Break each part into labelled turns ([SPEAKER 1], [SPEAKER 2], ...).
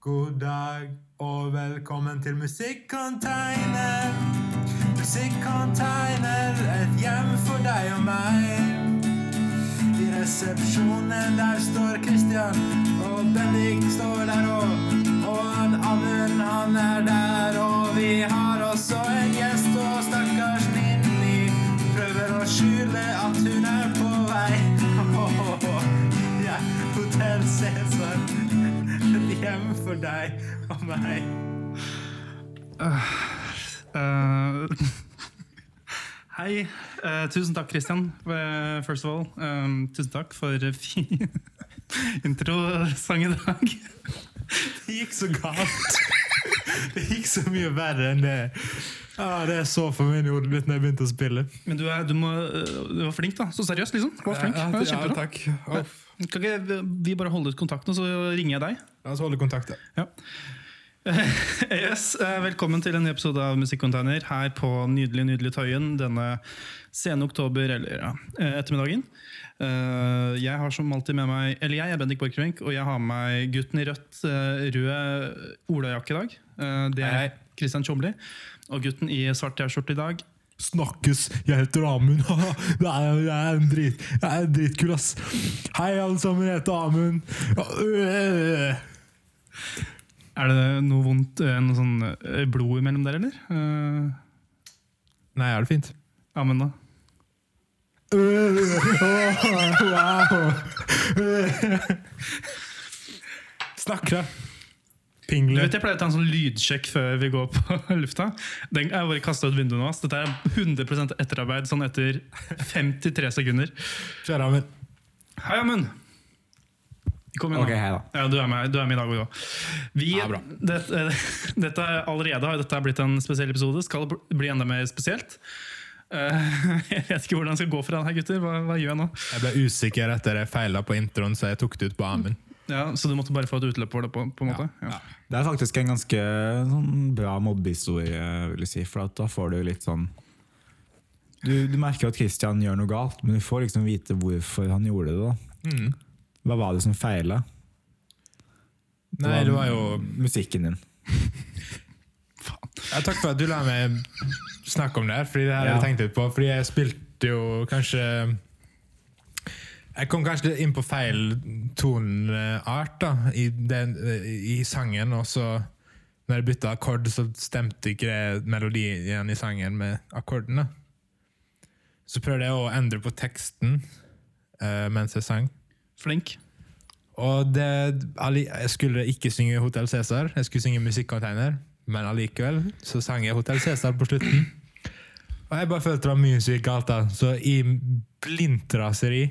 [SPEAKER 1] God dag og velkommen til Musikkonteiner. Musikkonteiner, et hjem for deg og meg. I resepsjonen der står Christian, og Bendik står der òg. Og han Amund, han er der, og vi har også en gjest. Og stakkars Ninni prøver å skjule at hun er på vei. Ja, Hotell Cæsar. Et hjem for deg og meg.
[SPEAKER 2] Eh, Hei. Eh, tusen takk, Christian. Eh, first of all, eh, tusen takk for fin introsang i dag.
[SPEAKER 1] Det gikk så galt. Det gikk så mye verre enn det. Ja, det er så for min ordlyd når jeg begynte å spille.
[SPEAKER 2] Men du, er, du, må, eh, du var flink, da. Så seriøst, liksom. Du var flink.
[SPEAKER 3] Ja,
[SPEAKER 2] Ja,
[SPEAKER 3] ja,
[SPEAKER 2] kjempebra.
[SPEAKER 3] takk. Uff.
[SPEAKER 2] Kan ikke vi bare holde ut kontakten, og så ringer jeg deg?
[SPEAKER 3] La oss holde kontakt. da.
[SPEAKER 2] Ja. Yes, eh, velkommen til en ny episode av Musikkcontainer her på nydelig, nydelig Tøyen denne sene oktober, eller ja, eh, ettermiddagen. Eh, Jeg har som alltid med meg Eller jeg er Bendik Borchgrevink, og jeg har med meg gutten i rødt, eh, rød olajakke i dag. Eh, Det er Christian Tjomli. Og gutten i svart T-skjorte i dag.
[SPEAKER 1] Snakkes! Jeg heter Amund. Jeg er, jeg er en drit, jeg er en dritkul, ass. Hei, alle sammen. Jeg heter Amund.
[SPEAKER 2] Er det noe vondt, eh, noe sånn eh, blod imellom dere, eller? Eh,
[SPEAKER 3] Nei, er det fint?
[SPEAKER 2] Amund, da?
[SPEAKER 3] Snakk, da!
[SPEAKER 2] Du
[SPEAKER 1] Pingle.
[SPEAKER 2] vet, Jeg pleier å ta en sånn lydsjekk før vi går på lufta. Den er bare kastet ut vinduet nå. ass. Dette er 100 etterarbeid sånn etter 53 sekunder.
[SPEAKER 1] Kjære Amund.
[SPEAKER 2] Hei, Amund! Kom igjen,
[SPEAKER 3] Ok, hei da.
[SPEAKER 2] Ja, du, er med, du er med i dag òg. Vi,
[SPEAKER 3] Ja, bra.
[SPEAKER 2] dette, dette er allerede har dette er blitt en spesiell episode. Skal bl- bli enda mer spesielt. Eh, jeg vet ikke hvordan jeg skal gå fra det her, gutter. Hva, hva gjør jeg nå?
[SPEAKER 3] Jeg ble usikker etter jeg feila på introen, så jeg tok det ut på Amund.
[SPEAKER 2] Ja, så du måtte bare få et utløp for det? på, på en måte? Ja.
[SPEAKER 4] Det er faktisk en ganske sånn, bra mobbehistorie, vil jeg si. For at da får du litt sånn du, du merker at Christian gjør noe galt, men du får liksom vite hvorfor han gjorde det. da.
[SPEAKER 3] Mm.
[SPEAKER 4] Hva var det som feila?
[SPEAKER 3] Nei, det var jo
[SPEAKER 4] musikken din.
[SPEAKER 3] ja, Takk for at du lar meg snakke om det her, Fordi det her har jeg
[SPEAKER 4] Ja.
[SPEAKER 3] tenkt litt på. Fordi jeg spilte jo kanskje Jeg kom kanskje inn på feil toneart da, i, den, i sangen, og så når jeg bytta akkord, så stemte ikke det melodien i sangen med akkorden. da. Så prøvde jeg å endre på teksten eh, mens jeg sang.
[SPEAKER 2] Flink.
[SPEAKER 3] Og det, alli- jeg skulle ikke synge Hotel Cæsar, jeg skulle synge Musikkonteiner. Men allikevel så sang jeg Hotel Cæsar på slutten. Og jeg bare følte det var mye som gikk galt, da. Så i blindt raseri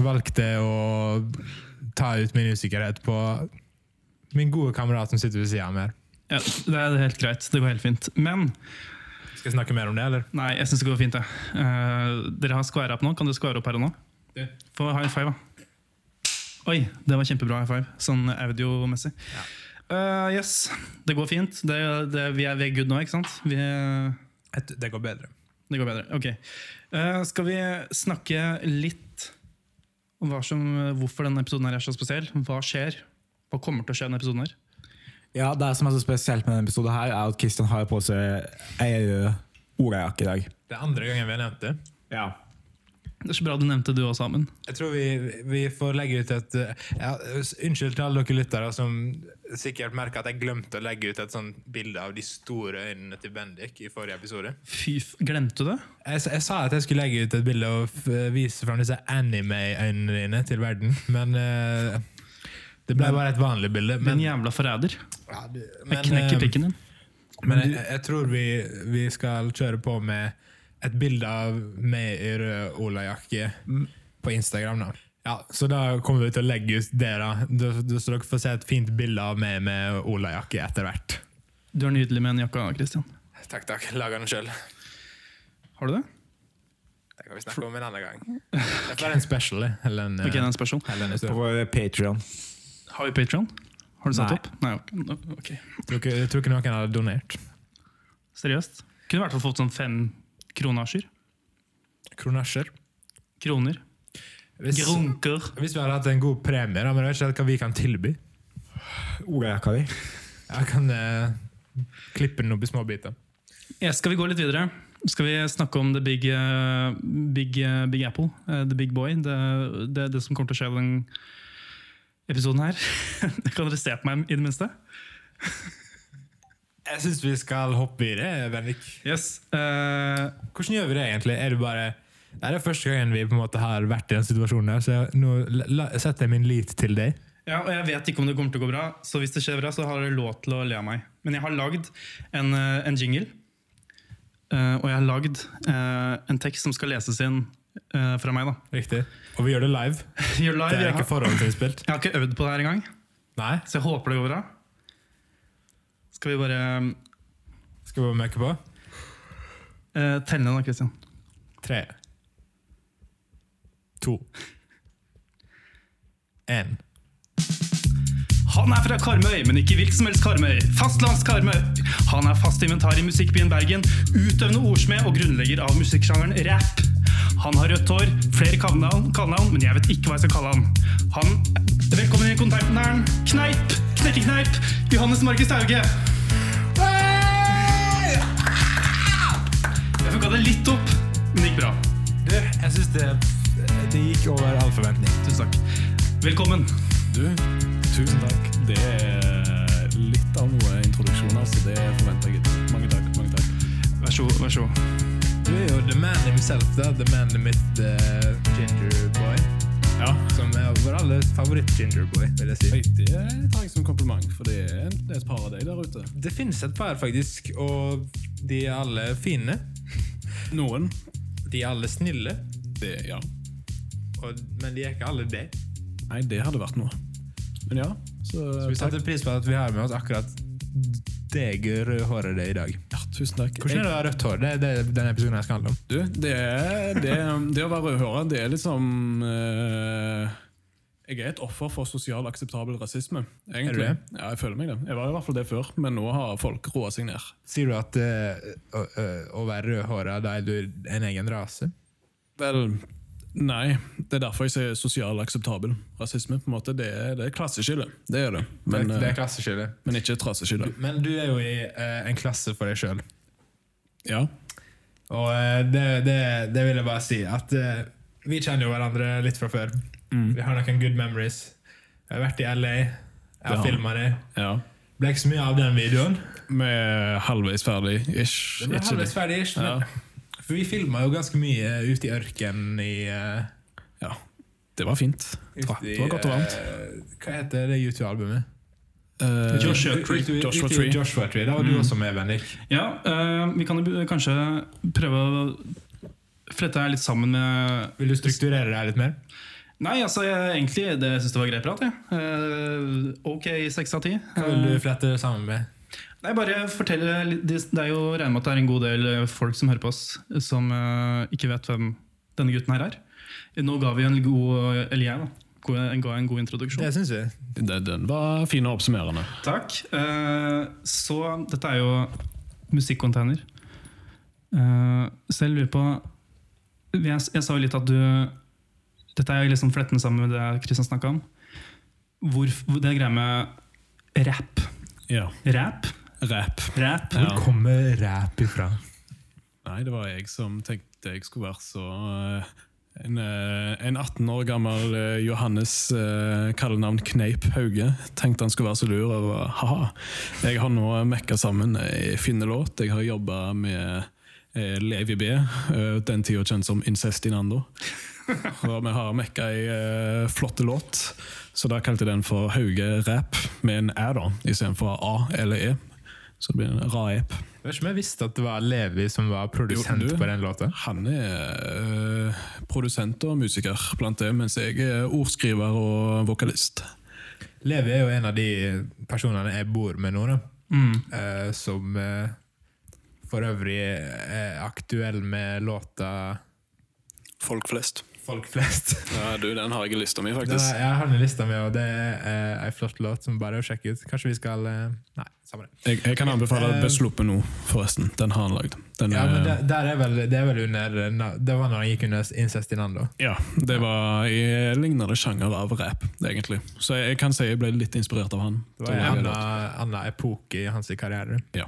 [SPEAKER 3] valgte jeg å ta ut min usikkerhet på min gode kamerat som sitter ved sida av meg. her.
[SPEAKER 2] Ja, det er helt greit. Det går helt fint. Men
[SPEAKER 3] Skal jeg snakke mer om det, eller?
[SPEAKER 2] Nei, jeg syns det går fint. jeg. Eh, dere har squara opp nå. Kan du square opp her og nå?
[SPEAKER 3] Det.
[SPEAKER 2] Få high five, da. Oi, det var kjempebra high five, sånn audiomessig. Eh, yes, det går fint. Det, det, vi er ved good nå, ikke sant? Vi, det
[SPEAKER 3] Et- Det går bedre.
[SPEAKER 2] går bedre. Ok. Eh, skal vi snakke litt om hva som, hvorfor denne episoden her er så spesiell? Hva skjer? Hva kommer til å skje i denne episoden? her?
[SPEAKER 4] Ja, Det som er så spesielt med denne episoden, her er at Christian har på seg ei rød olajakke i dag.
[SPEAKER 3] Det er andre gangen vi har nevnt det.
[SPEAKER 4] Ja.
[SPEAKER 2] Det er så bra du nevnte du også, Amund.
[SPEAKER 3] Jeg tror vi, vi får legge ut et eh, ja, s- Unnskyld til alle dere lyttere som sikkert merker at jeg glemte å legge ut et sånt bilde av de store øynene til Bendik i forrige episode.
[SPEAKER 2] Fy, f- glemte du det?
[SPEAKER 3] Jeg, s- jeg sa at jeg skulle legge ut et bilde og f vise fram disse anime-øynene dine til verden, men eh, det ble bare et vanlig bilde.
[SPEAKER 2] Din
[SPEAKER 3] Men,
[SPEAKER 2] jævla forræder.
[SPEAKER 3] ja, du- men,
[SPEAKER 2] Jeg knekker
[SPEAKER 3] eh,
[SPEAKER 2] pikken din.
[SPEAKER 3] men jeg, jeg tror vi, vi skal kjøre på med et bilde av meg i rød olajakke på Instagram. da. Ja, Så da kommer vi til å legge ut det, da. Da- da- Så dere får se et fint bilde av meg med olajakke etter hvert.
[SPEAKER 2] Du er nydelig med en jakke, Christian.
[SPEAKER 3] Takk, takk. Lager den sjøl.
[SPEAKER 2] Har du det?
[SPEAKER 3] Det kan vi snakke om en annen gang. Det er bare en special. det. Eller en, eh,
[SPEAKER 2] Ok, det er en spørsmål.
[SPEAKER 3] eller en
[SPEAKER 4] På
[SPEAKER 3] historie.
[SPEAKER 4] vår Patreon.
[SPEAKER 2] Har vi Patreon? Har du satt
[SPEAKER 4] Nei.
[SPEAKER 2] opp? Nei. ok. ok.
[SPEAKER 3] Tror ikke- Jeg tror ikke noen hadde donert.
[SPEAKER 2] Seriøst? Kunne i hvert fall fått sånn fem kronasjer.
[SPEAKER 3] Kronasjer.
[SPEAKER 2] Kroner.
[SPEAKER 3] Hvis,
[SPEAKER 2] Grunker.
[SPEAKER 3] hvis vi hadde hatt en god premie, da, men jeg vet ikke helt hva vi kan tilby.
[SPEAKER 4] olajakka di.
[SPEAKER 3] Jeg kan eh, klippe den opp i småbiter.
[SPEAKER 2] Ja, skal vi gå litt videre? Skal vi snakke om the big, eh, big, eh, big apple? eh, the big boy? Det, det, det som kommer til å skje i den episoden her? kan dere se på meg i det minste?
[SPEAKER 3] Jeg syns vi skal hoppe i det, Bendik.
[SPEAKER 2] Yes. Eh,
[SPEAKER 3] Hvordan gjør vi det egentlig? Er det bare Nei, det er første gangen vi på en måte har vært i den situasjonen her, så jeg, nå la, la, setter jeg min lit til deg.
[SPEAKER 2] Ja, og jeg vet ikke om det kommer til å gå bra, så hvis det skjer bra, så har dere lov til å le av meg. Men jeg har lagd en, eh, en jingle, eh, og jeg har lagd eh, en tekst som skal leses inn eh, fra meg, da.
[SPEAKER 3] Riktig. Og vi gjør det live.
[SPEAKER 2] You're live,
[SPEAKER 3] Det er
[SPEAKER 2] jeg,
[SPEAKER 3] ikke
[SPEAKER 2] har,
[SPEAKER 3] forhåndsinnspilt.
[SPEAKER 2] jeg har ikke øvd på det her engang,
[SPEAKER 3] Nei?
[SPEAKER 2] så jeg håper det går bra. Skal vi bare
[SPEAKER 3] Skal vi bare møkke på?
[SPEAKER 2] eh, telle ned, da, Christian?
[SPEAKER 3] Tre. To. Én.
[SPEAKER 2] Han er fra Karmøy, men ikke hvilken som helst Karmøy. Fastlands-Karmøy. Han er fast inventar i musikkbyen Bergen, utøvende ordsmed og grunnlegger av musikksjangeren rap. Han har rødt hår, flere kallenavn, kallenavn, men jeg vet ikke hva jeg skal kalle han. Han Velkommen inn i kontaktnæren. Kneip! Knekkekneip! Johannes Markus Hauge. Jeg funka det litt opp, men det gikk bra.
[SPEAKER 3] Du, jeg syns det, det gikk over all forventning.
[SPEAKER 2] Tusen takk. Velkommen.
[SPEAKER 5] Du, tusen takk. Det er litt av noe introduksjoner, så det forventer jeg. ikke. Mange takk. mange takk.
[SPEAKER 2] Vær så god. Vær så god.
[SPEAKER 3] Du er jo the man himself, da. The man the myth, the ginger boy.
[SPEAKER 5] Ja.
[SPEAKER 3] Som er vår alles favoritt-ginger boy, vil jeg si.
[SPEAKER 5] Oi, Det tar jeg som kompliment, for det er en- det er et par av deg der ute.
[SPEAKER 3] Det finnes et par, faktisk, og de er alle fine.
[SPEAKER 5] Noen.
[SPEAKER 3] De er alle snille,
[SPEAKER 5] Det, ja.
[SPEAKER 3] og, men de er ikke alle det.
[SPEAKER 5] Nei, det hadde vært noe. Men ja, så
[SPEAKER 3] Vi setter pris på at vi har med oss akkurat deg rødhåret det i dag.
[SPEAKER 5] ja, Tusen takk.
[SPEAKER 3] Hvordan er det å ha rødt hår? Det er det denne episoden her skal handle om.
[SPEAKER 5] Du, det, er, det, er- det å være rødhåra, det er liksom eh, Jeg er et offer for sosial akseptabel rasisme.
[SPEAKER 3] Er
[SPEAKER 5] Egentlig.
[SPEAKER 3] du det?
[SPEAKER 5] Ja, jeg føler meg det. Jeg var i hvert fall det før, men nå har folk roa seg ned.
[SPEAKER 3] Sier du at eh, å, å- å være rødhåra, da er du en egen rase?
[SPEAKER 5] Vel, nei. Det er derfor jeg sier sosial akseptabel rasisme. på en måte. Det er, det er klasseskille, det er det. Men,
[SPEAKER 3] det, det
[SPEAKER 5] eh,
[SPEAKER 3] er klasseskille.
[SPEAKER 5] men ikke et traseskille.
[SPEAKER 3] Men du er jo i eh, en klasse for deg sjøl.
[SPEAKER 5] Ja.
[SPEAKER 3] Og eh, det, det, det vil jeg bare si at eh, vi kjenner jo hverandre litt fra før.
[SPEAKER 5] Mm.
[SPEAKER 3] Vi har noen good memories. Jeg har vært i LA. Jeg har
[SPEAKER 5] Ja.
[SPEAKER 3] filma det.
[SPEAKER 5] ja.
[SPEAKER 3] Ble ikke så mye av den videoen.
[SPEAKER 5] Vi er halvveis ferdig, ish.
[SPEAKER 3] Den er
[SPEAKER 5] Ikke det.
[SPEAKER 3] halvveis ferdig, ish, men-
[SPEAKER 5] Ja.
[SPEAKER 3] For vi filma jo ganske mye eh, ute i ørkenen i eh,
[SPEAKER 5] Ja. det var fint.
[SPEAKER 3] ute
[SPEAKER 5] Det
[SPEAKER 3] i,
[SPEAKER 5] var godt og varmt.
[SPEAKER 3] eh, hva heter det YouTube-albumet?
[SPEAKER 5] Eh,
[SPEAKER 2] Joshua Tree.
[SPEAKER 3] Ute i-
[SPEAKER 5] Joshua
[SPEAKER 3] ute i
[SPEAKER 5] Tree. Mm.
[SPEAKER 3] Joshua Tree. Da var du også med, Bendik.
[SPEAKER 2] Ja, eh, vi kan jo bu- kanskje prøve å flette her litt sammen med
[SPEAKER 3] Vil du strukturere deg litt mer?
[SPEAKER 2] Nei, altså, jeg, egentlig det syns jeg var grei prat. jeg. Eh, ok, seks av ti. Eh,
[SPEAKER 3] Hva vil du flette det sammen med?
[SPEAKER 2] Nei, bare fortell litt- Det det er jo regner med at det er en god del eh, folk som hører på oss, som eh, ikke vet hvem denne gutten her er. Nå ga vi en god Eller jeg, da. go- En, ga en god introduksjon.
[SPEAKER 3] Det syns vi.
[SPEAKER 5] Den, Eh, den var fin og oppsummerende.
[SPEAKER 2] Takk. Eh, så dette er jo musikkonteiner. Eh, så jeg lurer på jeg, jeg sa jo litt at du Dette er jo liksom flettende sammen med det Kristian snakka om. Hvorf- Hvor, det greia med rap.
[SPEAKER 5] Ja.
[SPEAKER 2] Rap?
[SPEAKER 5] Rap.
[SPEAKER 2] Rap?
[SPEAKER 5] Ja.
[SPEAKER 3] kommer rap ifra?
[SPEAKER 5] Nei, det var jeg som tenkte jeg skulle være så eh, en, eh, en 18 år gammel eh, Johannes eh, kallenavn Kneip Hauge tenkte han skulle være så lur. Og var, haha, jeg har nå mekka sammen ei finnelåt. Jeg har jobba med eh, Levi B, eh, den tida kjent som Incestinando. Og vi har mekka ei eh, flotte låt, så da kalte jeg den for Hauge Rap med en æ da, istedenfor A eller E. Så det blir en ra-ep.
[SPEAKER 3] Det var ikke om jeg visste at det var Levi som var produsent
[SPEAKER 5] Jo, du-
[SPEAKER 3] på den låta.
[SPEAKER 5] Han er øh, produsent og musiker blant det, mens jeg er ordskriver og vokalist.
[SPEAKER 3] Levi er jo en av de personene jeg bor med nå, da.
[SPEAKER 2] Mm.
[SPEAKER 3] Eh, som eh, for øvrig er aktuell med låta
[SPEAKER 5] Folk flest.
[SPEAKER 3] folk flest.
[SPEAKER 5] Ja, du, Den har jeg i lista mi,
[SPEAKER 3] Det
[SPEAKER 5] faktisk.
[SPEAKER 3] er, jeg har den i lista mi, og det er eh, ei flott låt som bare er å sjekke ut. Kanskje vi skal eh, Nei, samme det.
[SPEAKER 5] Jeg, jeg kan anbefale
[SPEAKER 3] Eh,
[SPEAKER 5] Besluppet nå, forresten. Den har han lagd. Den,
[SPEAKER 3] Ja, men
[SPEAKER 5] eh,
[SPEAKER 3] det, der er vel, det er vel under eh, na- Det var når han gikk under Incest in Ando.
[SPEAKER 5] ja, det var i lignende sjanger av rap, egentlig. Så jeg, jeg kan si jeg ble litt inspirert av han.
[SPEAKER 3] Det var
[SPEAKER 5] til å
[SPEAKER 3] en
[SPEAKER 5] lage låt.
[SPEAKER 3] annen- annen epoke i hans karriere.
[SPEAKER 5] Ja.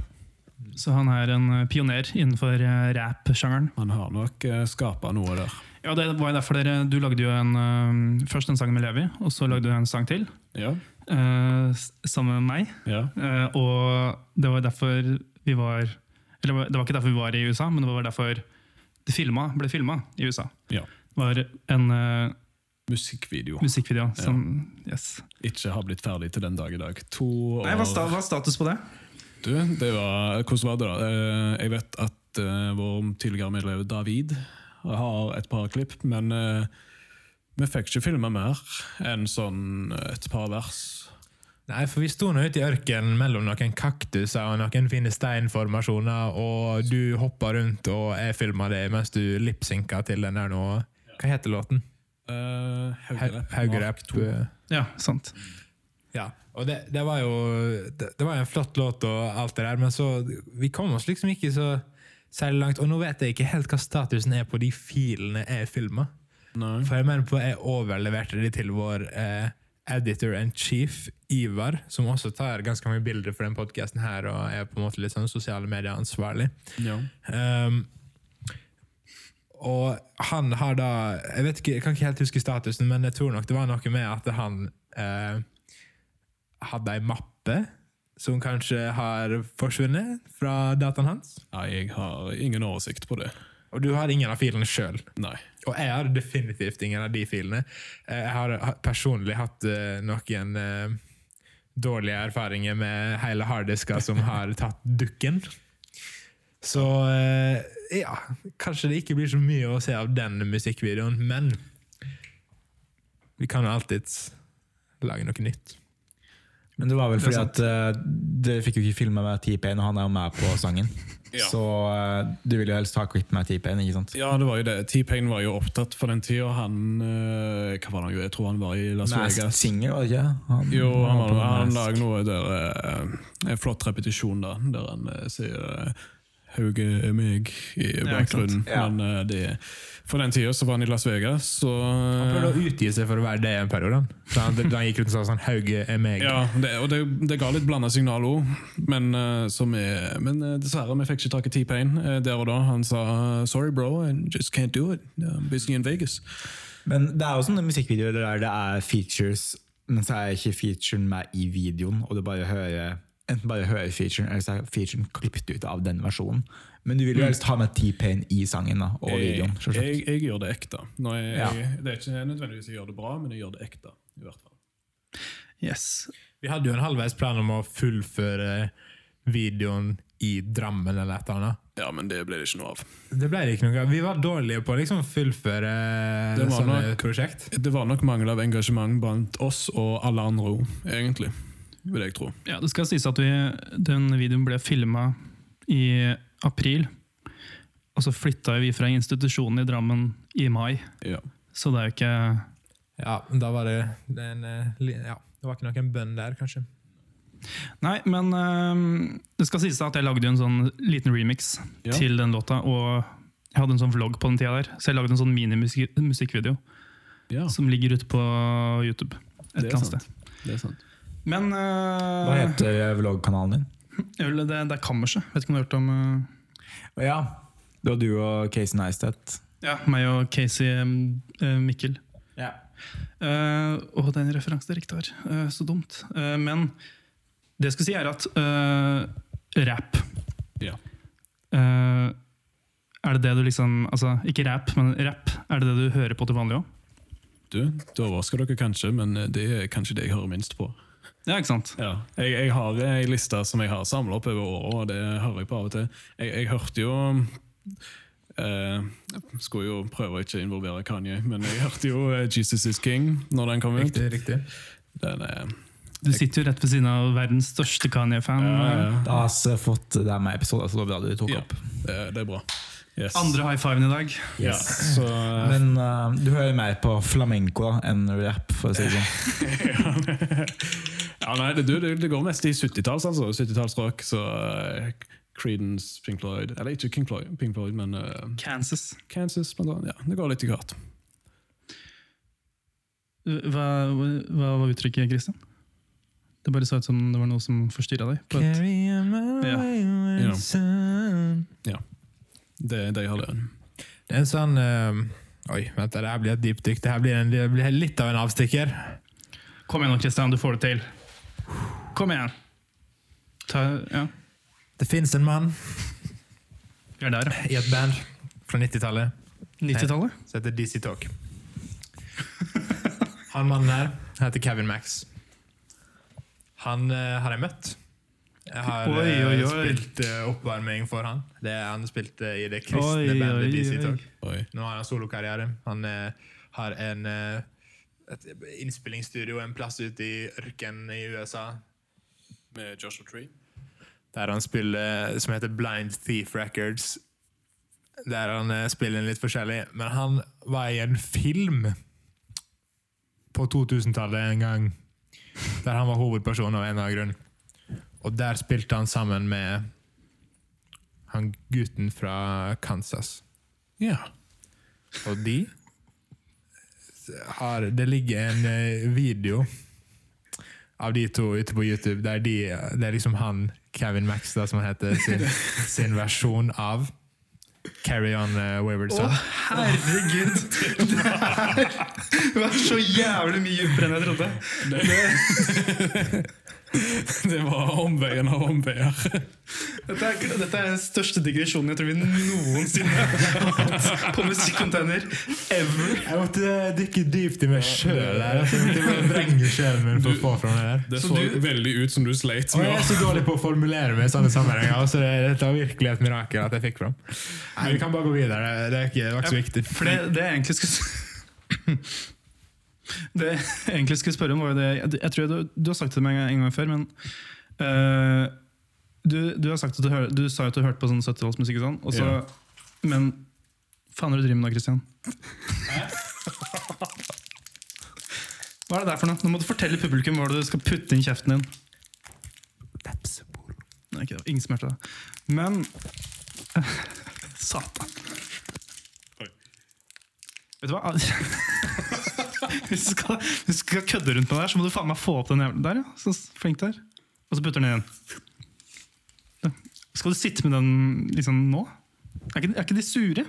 [SPEAKER 2] Så han er en eh, pioner innenfor eh, rap-sjangeren.
[SPEAKER 5] Han har nok uh, skapa noe der.
[SPEAKER 2] Ja, det var jo derfor dere, Du lagde jo en, eh, først en sang med Levi, og så lagde du en sang til
[SPEAKER 5] Ja,
[SPEAKER 2] eh, s- sammen med meg.
[SPEAKER 5] ja.
[SPEAKER 2] Eh, og det var derfor vi var Eller det var ikke derfor vi var i USA, men det var derfor det filma, ble filma i USA.
[SPEAKER 5] Ja.
[SPEAKER 2] Det var en eh,
[SPEAKER 5] Musikkvideo.
[SPEAKER 2] musikkvideo som Yes.
[SPEAKER 5] Ikke har blitt ferdig til den dag i dag. To år
[SPEAKER 2] Nei, hva sta, hva er status på det?
[SPEAKER 5] Du, det var, hvordan var det da? Eh, Jeg vet at eh, vår tidligere medlem David har et par klipp, men eh, vi fikk ikke filma mer enn sånn et par vers.
[SPEAKER 3] Nei, for vi sto nå ute i ørkenen mellom noen kaktuser og noen fine steinformasjoner, og du hoppa rundt, og jeg filma det mens du lipsynka til den der nå Hva heter låten?
[SPEAKER 5] Eh,
[SPEAKER 3] Hau-
[SPEAKER 5] Haugerep
[SPEAKER 3] Haugerep.
[SPEAKER 5] Mark 2.
[SPEAKER 3] eh,
[SPEAKER 2] Ja, sant.
[SPEAKER 3] Ja, og det, det var jo det, det var jo en flott låt og alt det der, men så Vi kom oss liksom ikke så særlig langt. Og nå vet jeg ikke helt hva statusen er på de filene jeg filma.
[SPEAKER 5] Nei.
[SPEAKER 3] For jeg mener på jeg overleverte de til vår eh, editor and chief, Ivar, som også tar ganske mange bilder for den podkasten her og er på en måte litt sånn sosiale medier-ansvarlig.
[SPEAKER 5] Ja.
[SPEAKER 3] Um, og han har da Jeg vet ikke, jeg kan ikke helt huske statusen, men jeg tror nok det var noe med at han eh, hadde ei mappe som kanskje har forsvunnet fra dataen hans.
[SPEAKER 5] Nei, jeg har ingen oversikt på det.
[SPEAKER 3] Og du har ingen av filene sjøl.
[SPEAKER 5] Nei.
[SPEAKER 3] Og jeg har definitivt ingen av de filene. Eh, Jeg har ha- personlig hatt eh, noen eh, dårlige erfaringer med hele harddisker som har tatt dukken. Så eh, ja, kanskje det ikke blir så mye å se av den musikkvideoen, men vi kan jo alltids lage noe nytt.
[SPEAKER 4] Men det var vel
[SPEAKER 2] Det
[SPEAKER 4] fordi
[SPEAKER 2] er
[SPEAKER 4] at eh, dere fikk jo ikke filma med T-Pain, og han er jo med på sangen.
[SPEAKER 5] Ja.
[SPEAKER 4] Så eh, du ville jo helst ha klipp med T-Pain, ikke sant?
[SPEAKER 5] Ja, det var jo det. T-Pain var jo opptatt for den tida. Han eh, Hva var det han gjorde? Jeg tror han var i Las
[SPEAKER 4] Masked
[SPEAKER 5] Vegas.
[SPEAKER 4] Singer, var det ikke? Han,
[SPEAKER 5] Jo, han,
[SPEAKER 4] var på
[SPEAKER 5] han, han
[SPEAKER 4] Masked.
[SPEAKER 5] lager noe der eh, En flott repetisjon da, der han eh, sier eh, Hauge er meg i
[SPEAKER 2] Ja, ikke sant.
[SPEAKER 5] bakgrunnen.
[SPEAKER 4] Ja.
[SPEAKER 5] Men eh, det, for den tida så var han i Las Vegas, så eh,
[SPEAKER 3] Han prøvde å utgi seg for å være det en periode. Så han, da han gikk rundt og sa sånn 'Hauge er meg'.
[SPEAKER 5] ja, det, og det, det ga litt blanda signal òg, men, eh, som er- men eh, dessverre, vi fikk ikke tak i T-Pain eh, der og da. Han sa 'sorry, bro, I just can't do it. I'm busy in Vegas'.
[SPEAKER 4] Men det er jo sånne musikkvideoer der det er features, men så er ikke featuren med i videoen, og du bare hører Enten bare hører featuren, eller så er featuren klippet ut av den versjonen. Men du vil jo helst ha med T-Pain i sangen da, og videoen.
[SPEAKER 5] Mm. jeg,
[SPEAKER 4] selvsagt.
[SPEAKER 5] jeg, jeg gjør det ekte. Når jeg,
[SPEAKER 4] Ja.
[SPEAKER 5] jeg, det er ikke nødvendigvis jeg gjør det bra, men jeg gjør det ekte. i hvert fall.
[SPEAKER 2] Yes.
[SPEAKER 3] Vi hadde jo en halvveis plan om å fullføre videoen i Drammen eller et eller annet.
[SPEAKER 5] Ja, men det ble det ikke noe av.
[SPEAKER 3] Det ble det ikke noe av. Vi var dårlige på å liksom fullføre
[SPEAKER 5] Det var
[SPEAKER 3] sånne
[SPEAKER 5] nok-
[SPEAKER 3] prosjekt.
[SPEAKER 5] Det var nok mangel av engasjement blant oss og alle andre òg, egentlig. Vil jeg tro.
[SPEAKER 2] Ja, det skal sies at vi, den videoen ble filma i april. Og så flytta vi fra institusjonen i Drammen i mai,
[SPEAKER 5] Ja.
[SPEAKER 2] så det er jo ikke
[SPEAKER 3] Ja, da var det en, eh, li- ja, Det var ikke noen bønn der, kanskje.
[SPEAKER 2] Nei, men øhm, det skal sies at jeg lagde jo en sånn liten remix
[SPEAKER 5] Ja.
[SPEAKER 2] til den låta. Og jeg hadde en sånn vlogg på den tida der, så jeg lagde en sånn minimusikkvideo
[SPEAKER 5] Ja,
[SPEAKER 2] som ligger ute på YouTube. Et
[SPEAKER 5] Det er
[SPEAKER 2] eller annet
[SPEAKER 5] sant.
[SPEAKER 2] sted.
[SPEAKER 5] det er sant.
[SPEAKER 2] Men
[SPEAKER 4] Hva
[SPEAKER 2] øh,
[SPEAKER 4] heter eh, vloggkanalen din?
[SPEAKER 2] eller det, det er Kammerset. Vet ikke om du har hørt om øh,
[SPEAKER 4] Å ja, det var du og Casey Neistat.
[SPEAKER 2] ja, meg og Casey øh, Mikkel.
[SPEAKER 4] Ja.
[SPEAKER 2] Eh, og den referansen er riktig her. Eh, så dumt. Eh, men det jeg skal si, er at eh, rap
[SPEAKER 5] Ja.
[SPEAKER 2] eh, Er det det du liksom Altså, ikke rap, men rap. Er det det du hører på til vanlig òg?
[SPEAKER 5] Du, det overrasker dere kanskje, men eh, det er kanskje det jeg hører minst på.
[SPEAKER 2] Ja, ikke sant?
[SPEAKER 5] Ja. Jeg, jeg har ei liste som jeg har samla opp over året, og det hører jeg på av og til. Jeg, jeg hørte jo eh, Skulle jo prøve å ikke involvere Kanye, men jeg hørte jo eh, 'Jesus Is King' når den kom ut.
[SPEAKER 3] Riktig, riktig.
[SPEAKER 5] Den er,
[SPEAKER 2] Du sitter jo rett ved siden av verdens største Kanye-fan.
[SPEAKER 5] ja, ja.
[SPEAKER 4] eh, Da har vi fått det er med episoden, så det var bra du tok
[SPEAKER 5] Ja,
[SPEAKER 4] opp.
[SPEAKER 5] det, det er bra. Yes.
[SPEAKER 2] Andre high fiven i dag.
[SPEAKER 5] Ja, så eh,
[SPEAKER 4] Men eh, du hører mer på flamenco da, enn rap, for å si det sånn.
[SPEAKER 5] ja, nei, det, du, det, det går mest i 70-talls, altså. 70-tallsrock. Så eh, Creedence, Pink Floyd Eller ikke King Floyd, Pink Floyd men eh,
[SPEAKER 2] Kansas.
[SPEAKER 5] Kansas, blant annet. Ja, det går litt i hvert.
[SPEAKER 2] Hva, hva var uttrykket, Christian? Det bare så ut som det var noe som forstyrra deg. på et- Ja.
[SPEAKER 5] Ja. Det er det jeg har lært.
[SPEAKER 3] Det er en sånn eh, Oi, vent, det her blir et dypdykk. Det her blir, en, det blir litt av en avstikker.
[SPEAKER 2] Kom igjen nå, Christian, du får det til. Kom igjen. Ta, ja,
[SPEAKER 3] Det fins en mann
[SPEAKER 2] vi er der,
[SPEAKER 3] i
[SPEAKER 2] ja.
[SPEAKER 3] et band fra 90-tallet
[SPEAKER 2] 90-tallet?
[SPEAKER 3] som heter DC Talk. Han mannen her heter Kevin Max. Han eh, har jeg møtt. Jeg har eh,
[SPEAKER 2] Oi, oi, oi.
[SPEAKER 3] spilt eh, oppvarming for han. Det, han spilte i det
[SPEAKER 2] Oi,
[SPEAKER 3] kristne
[SPEAKER 2] oi,
[SPEAKER 3] bandet DC
[SPEAKER 2] oi.
[SPEAKER 3] Talk.
[SPEAKER 5] Oi.
[SPEAKER 3] Nå har han solokarriere. Han eh, har en, eh, et innspillingsstudio en plass ute i ørkenen i USA.
[SPEAKER 5] Med Joshua Tree.
[SPEAKER 3] Der han spiller som heter Blind Thief Records. Der han eh, spiller litt forskjellig. Men han var i en film på 2000-tallet en gang. Der han var hovedperson av en eller annen grunn. Og der spilte han sammen med han gutten fra Kansas.
[SPEAKER 5] Ja.
[SPEAKER 3] Og de har Det ligger en eh, video av de to ute på YouTube der de, det er liksom han, Kevin Max, da, som han heter, sin, sin versjon av Carry On uh, Wayward Son.
[SPEAKER 2] Herregud! Det var så jævlig mye dypere enn jeg trodde.
[SPEAKER 5] Det var omveien av omveier.
[SPEAKER 2] Dette er, dette er den største digresjonen jeg tror vi noensinne har hatt på Musikkcontainer ever.
[SPEAKER 3] Jeg måtte dykke dypt i meg sjøl. Jeg må vrenge sjelen min for å få fram det der.
[SPEAKER 5] Det
[SPEAKER 2] Så
[SPEAKER 5] så,
[SPEAKER 2] du-
[SPEAKER 5] veldig ut som du sleit
[SPEAKER 3] Og
[SPEAKER 5] med.
[SPEAKER 3] jeg er
[SPEAKER 5] å-
[SPEAKER 3] så dårlig på å formulere meg i sånne sammenhenger. Så det, dette var virkelig et mirakel at jeg fikk fram. Nei, Vi kan bare gå videre. Det, det, er ikke, det var ikke så viktig.
[SPEAKER 2] For det, det jeg egentlig skulle s- Det jeg egentlig skulle spørre om, var jo det Jeg, jeg tror du, du har sagt det til meg en gang- en gang før, men eh, du, du, har sagt at du, hører, du sa jo at du hørte på sånn 70-tallsmusikk og sånn, og så,
[SPEAKER 5] Ja.
[SPEAKER 2] men faen er det du driver med nå, Christian? Hva er det der for noe? Nå må du fortelle publikum hva det er du skal putte inn kjeften din. Nei, ikke det. Ingen som hørte det. Men Satan.
[SPEAKER 5] Oi.
[SPEAKER 2] Vet du hva? hvis, du skal, hvis du skal kødde rundt med det her, så må du faen meg få opp den jævla Der, ja. Så flink du er. Og så putter den igjen. Ja. Skal du sitte med den liksom nå? Er ikke, er ikke de sure?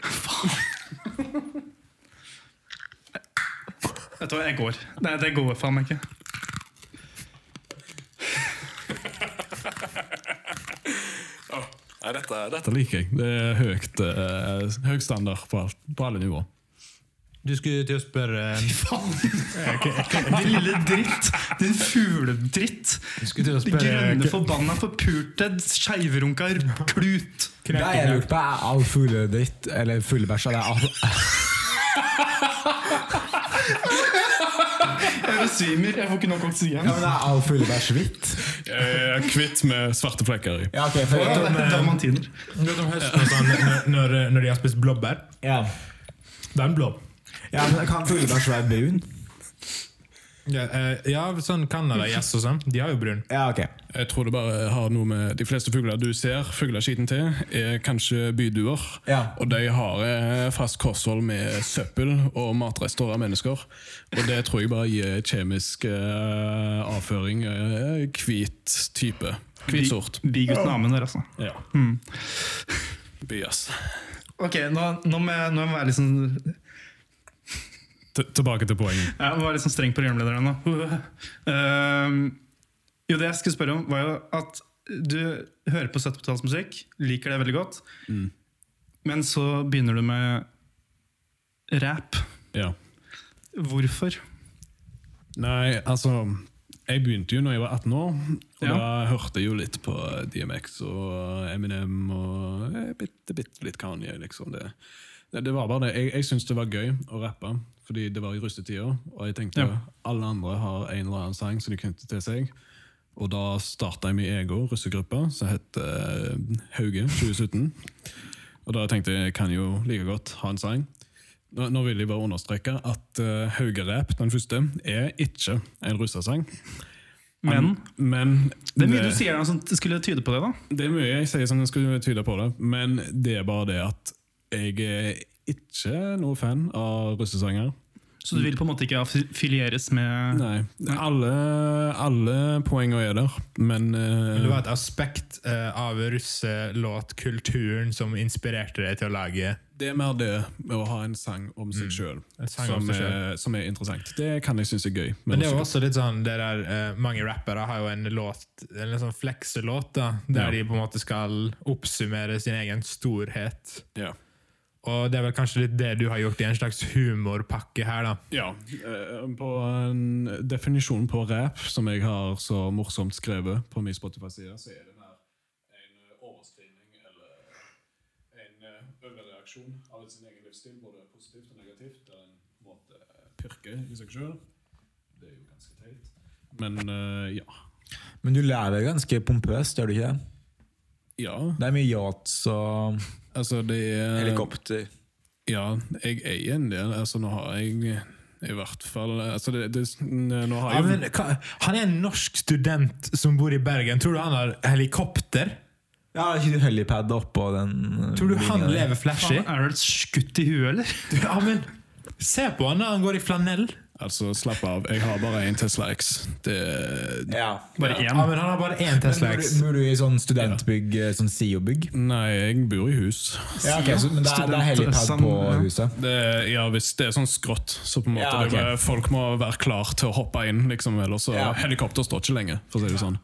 [SPEAKER 2] Faen. Vet du hva, jeg går. Nei, det går faen meg ikke.
[SPEAKER 5] Nei, dette, dette liker jeg. Det er høyt, eh, høy standard på, alt, på alle nivå.
[SPEAKER 3] Du skulle til å spørre eh,
[SPEAKER 2] Din lille dritt! Din fugledritt!
[SPEAKER 3] Skulle til å
[SPEAKER 2] Din grønne,
[SPEAKER 3] spørre
[SPEAKER 2] forbanna, forpulte, skeivrunka klut!
[SPEAKER 4] Det jeg lurte på, er all fugledritt eller fuglebæsj eller all-
[SPEAKER 2] Jeg besvimer, jeg får ikke nok oksygen.
[SPEAKER 4] Ja, men det er all fuglebæsj hvitt?
[SPEAKER 5] Jeg er kvitt med svarte flekker i.
[SPEAKER 4] Ja, ok, for jeg
[SPEAKER 2] Det
[SPEAKER 4] tror-
[SPEAKER 2] er Dalmatiner.
[SPEAKER 3] Du vet om høsten og sånn, når- når, når de har spist blåbær?
[SPEAKER 4] ja.
[SPEAKER 3] Det er en blå.
[SPEAKER 4] ja, men kan fuglebæsj være brun?
[SPEAKER 3] Ja, eh, ja sånn Canada-gjess og sånn. De har jo brun.
[SPEAKER 4] Ja, ok.
[SPEAKER 5] Jeg tror det bare har noe med De fleste fugler du ser fugleskiten til, er kanskje byduer.
[SPEAKER 4] Ja.
[SPEAKER 5] Og de har eh, fast kosthold med søppel og matrester av mennesker. Og det tror jeg bare gir kjemisk eh, avføring eh, hvit type. Hvit-sort.
[SPEAKER 2] Bigutten Amund der, altså.
[SPEAKER 5] Ja. Bias.
[SPEAKER 2] Ok, nå, nå, må jeg, nå må jeg være litt sånn
[SPEAKER 5] T tilbake til poenget.
[SPEAKER 2] Jeg må være litt sånn streng på programlederen nå. Ehm, jo, det jeg skulle spørre om, var jo at du hører på 70-tallsmusikk, liker det veldig godt, men så begynner du med rap.
[SPEAKER 5] Ja.
[SPEAKER 2] Hvorfor?
[SPEAKER 5] Nei, altså Jeg begynte jo når jeg var 18 år, og
[SPEAKER 2] Ja.
[SPEAKER 5] da hørte jeg jo litt på DMX og Eminem og eh, bitte, bitte litt Kanye, liksom. Det, det, det var bare det. Jeg, jeg syntes det var gøy å rappe, fordi det var i rustetida, og jeg tenkte
[SPEAKER 2] Ja.
[SPEAKER 5] alle andre har en eller annen sang som de knytter til seg. Og da starta jeg min egen russegruppe som het eh, Hauge 2017. Og da tenkte jeg jeg kan jo like godt ha en sang. Nå, nå vil jeg bare understreke at uh, Haugerap, den første, er ikke en russesang.
[SPEAKER 2] Men
[SPEAKER 5] Men
[SPEAKER 2] det er mye du sier nå som skulle tyde på det. da.
[SPEAKER 5] det er mye jeg sier som skulle tyde på det, men det er bare det at jeg er ikke noe fan av russesanger.
[SPEAKER 2] Så du vil på en måte ikke affilieres med
[SPEAKER 5] Nei. Alle, alle poenger er der, men eh,
[SPEAKER 3] Det var et aspekt eh, av russelåtkulturen som inspirerte deg til å lage
[SPEAKER 5] det er mer det med å ha en sang om seg sjøl
[SPEAKER 3] Mm. En sang om
[SPEAKER 5] som,
[SPEAKER 3] seg selv.
[SPEAKER 5] er- som er interessant. Det kan jeg synes er gøy. med
[SPEAKER 3] Men det er jo
[SPEAKER 5] russegruppe.
[SPEAKER 3] også litt sånn det der, eh, Mange rappere har jo en låt, en sånn flekselåt, da, der
[SPEAKER 5] Ja.
[SPEAKER 3] de på en måte skal oppsummere sin egen storhet.
[SPEAKER 5] ja.
[SPEAKER 3] Og det er vel kanskje litt det du har gjort i en slags humorpakke her, da.
[SPEAKER 5] Ja. eh, På en definisjon på rap, som jeg har så morsomt skrevet på min Spotify-side, så er det der en eh, overskrivning eller en eh, overreaksjon av sin egen livsstil, både positivt og negativt. Det er en måte eh, pyrke i seg sjøl. Det er jo ganske teit. Men eh, ja.
[SPEAKER 4] Men du lever ganske pompøst, gjør du ikke det?
[SPEAKER 5] Ja,
[SPEAKER 4] Det er mye yachts og eh,
[SPEAKER 5] altså det er
[SPEAKER 4] helikopter.
[SPEAKER 5] Ja, jeg eier en del. Altså, nå har jeg i hvert fall altså det, det, Nå har
[SPEAKER 3] Ja,
[SPEAKER 5] jeg
[SPEAKER 3] men, hva, han er en norsk student som bor i Bergen. Tror du han har helikopter?
[SPEAKER 4] Ja, har ikke du helipad oppå den eh,
[SPEAKER 3] Tror du
[SPEAKER 4] linja
[SPEAKER 3] han
[SPEAKER 4] der?
[SPEAKER 3] lever
[SPEAKER 2] Faen,
[SPEAKER 3] flashy?
[SPEAKER 2] Er du skutt i huet, eller?
[SPEAKER 3] Ja, men Se på han da, han går i flanell.
[SPEAKER 5] Altså, slapp av. Jeg har bare én Tesla X. Det,
[SPEAKER 4] Ja.
[SPEAKER 2] Bare
[SPEAKER 3] Ja,
[SPEAKER 2] én.
[SPEAKER 3] men han har bare én Tesla
[SPEAKER 4] Bor
[SPEAKER 3] X.
[SPEAKER 4] du- Bor du i sånn studentbygg, eh, sånn SIO-bygg?
[SPEAKER 5] nei, jeg bor i hus.
[SPEAKER 4] Ja, ok, så, men det er, det er helipad
[SPEAKER 2] Student-
[SPEAKER 4] på
[SPEAKER 2] ja.
[SPEAKER 4] huset?
[SPEAKER 5] Det, ja, hvis det er sånn skrått, så på en måte
[SPEAKER 4] Ja, ok.
[SPEAKER 5] det er bare- Folk må være klar til å hoppe inn, liksom, ellers så
[SPEAKER 4] Ja.
[SPEAKER 5] Helikopter står ikke lenge, for å si det sånn.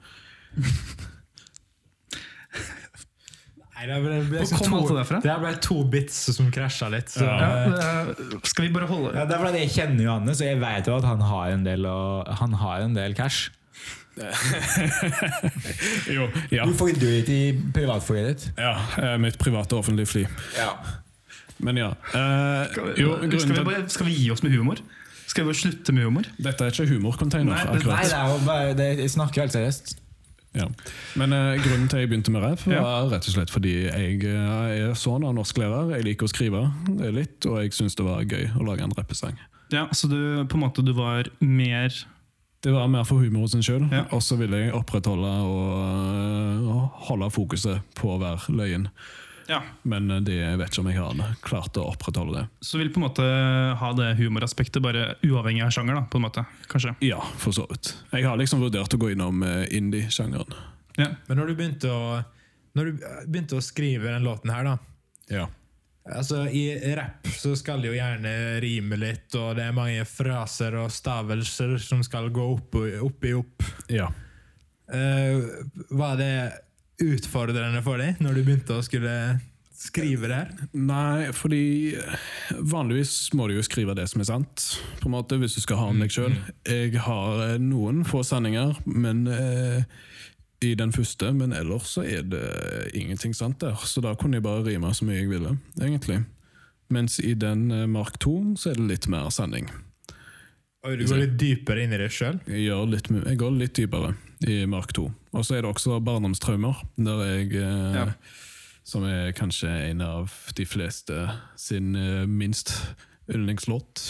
[SPEAKER 3] Nei, det er bare- det er liksom
[SPEAKER 2] Hvor kom alt det derfra?
[SPEAKER 3] to- det er bare to bits som krasja litt. Så.
[SPEAKER 2] Ja, eh, skal vi bare holde
[SPEAKER 4] Ja, det er fordi Jeg kjenner jo Hanne, så jeg vet jo at han har en del, å- han har en del cash.
[SPEAKER 5] Jo, ja.
[SPEAKER 4] Du får ikke du litt i privatflyet ditt.
[SPEAKER 5] ja eh, mitt private og offentlige fly.
[SPEAKER 4] Ja.
[SPEAKER 5] Men ja. eh,
[SPEAKER 2] skal vi,
[SPEAKER 5] jo, grunnen
[SPEAKER 2] skal, vi
[SPEAKER 5] til at
[SPEAKER 2] bare, skal vi gi oss med humor? Skal vi bare slutte med humor?
[SPEAKER 5] Dette er ikke humorcontainer,
[SPEAKER 2] Nei, det-
[SPEAKER 4] Nei,
[SPEAKER 5] akkurat.
[SPEAKER 4] det er jo bare, det, jeg snakker jo helt seriøst.
[SPEAKER 5] Ja. Men eh, grunnen til jeg begynte med rap,
[SPEAKER 2] Ja.
[SPEAKER 5] var rett og slett fordi jeg eh, er sånn av norsklærer. Jeg liker å skrive eh, litt, og jeg syns det var gøy å lage en rappesang.
[SPEAKER 2] Ja, Så du, på en måte, du var mer
[SPEAKER 5] Det var mer for humoren sin sjøl,
[SPEAKER 2] Ja.
[SPEAKER 5] og så ville jeg opprettholde og øh, holde fokuset på å være løyen.
[SPEAKER 2] Ja,
[SPEAKER 5] Men øh, det jeg vet ikke om jeg har klart å opprettholde det.
[SPEAKER 2] Så vil på en måte ha det humoraspektet, bare uavhengig av sjanger, da, på en måte. Kanskje.
[SPEAKER 5] Ja, for så vidt. Jeg har liksom vurdert å gå innom øh, indie-sjangeren.
[SPEAKER 2] Ja.
[SPEAKER 3] Men når du begynte å Når du eh, begynte å skrive den låten her, da
[SPEAKER 5] Ja.
[SPEAKER 3] Altså, I rapp så skal det jo gjerne rime litt, og det er mange fraser og stavelser som skal gå opp, og- opp i opp.
[SPEAKER 5] ja.
[SPEAKER 3] Eh, var det utfordrende for deg når du begynte å skulle skrive det her?
[SPEAKER 5] Nei, fordi vanligvis må du jo skrive det som er sant, på en måte, hvis du skal ha om deg sjøl. Jeg har eh, noen få sanninger men, eh, i den første, men ellers så er det ingenting sant der. Så da kunne jeg bare rime så mye jeg ville, egentlig. Mens i den eh, Mark 2 så er det litt mer sanning.
[SPEAKER 3] Oi, du går litt dypere inn i det sjøl?
[SPEAKER 5] Jeg, gjør litt, my- jeg går litt dypere i Mark 2. Og så er det også barndomstraumer, der jeg eh,
[SPEAKER 2] Ja.
[SPEAKER 5] Som er kanskje en av de fleste sin eh, minst yndlingslåt,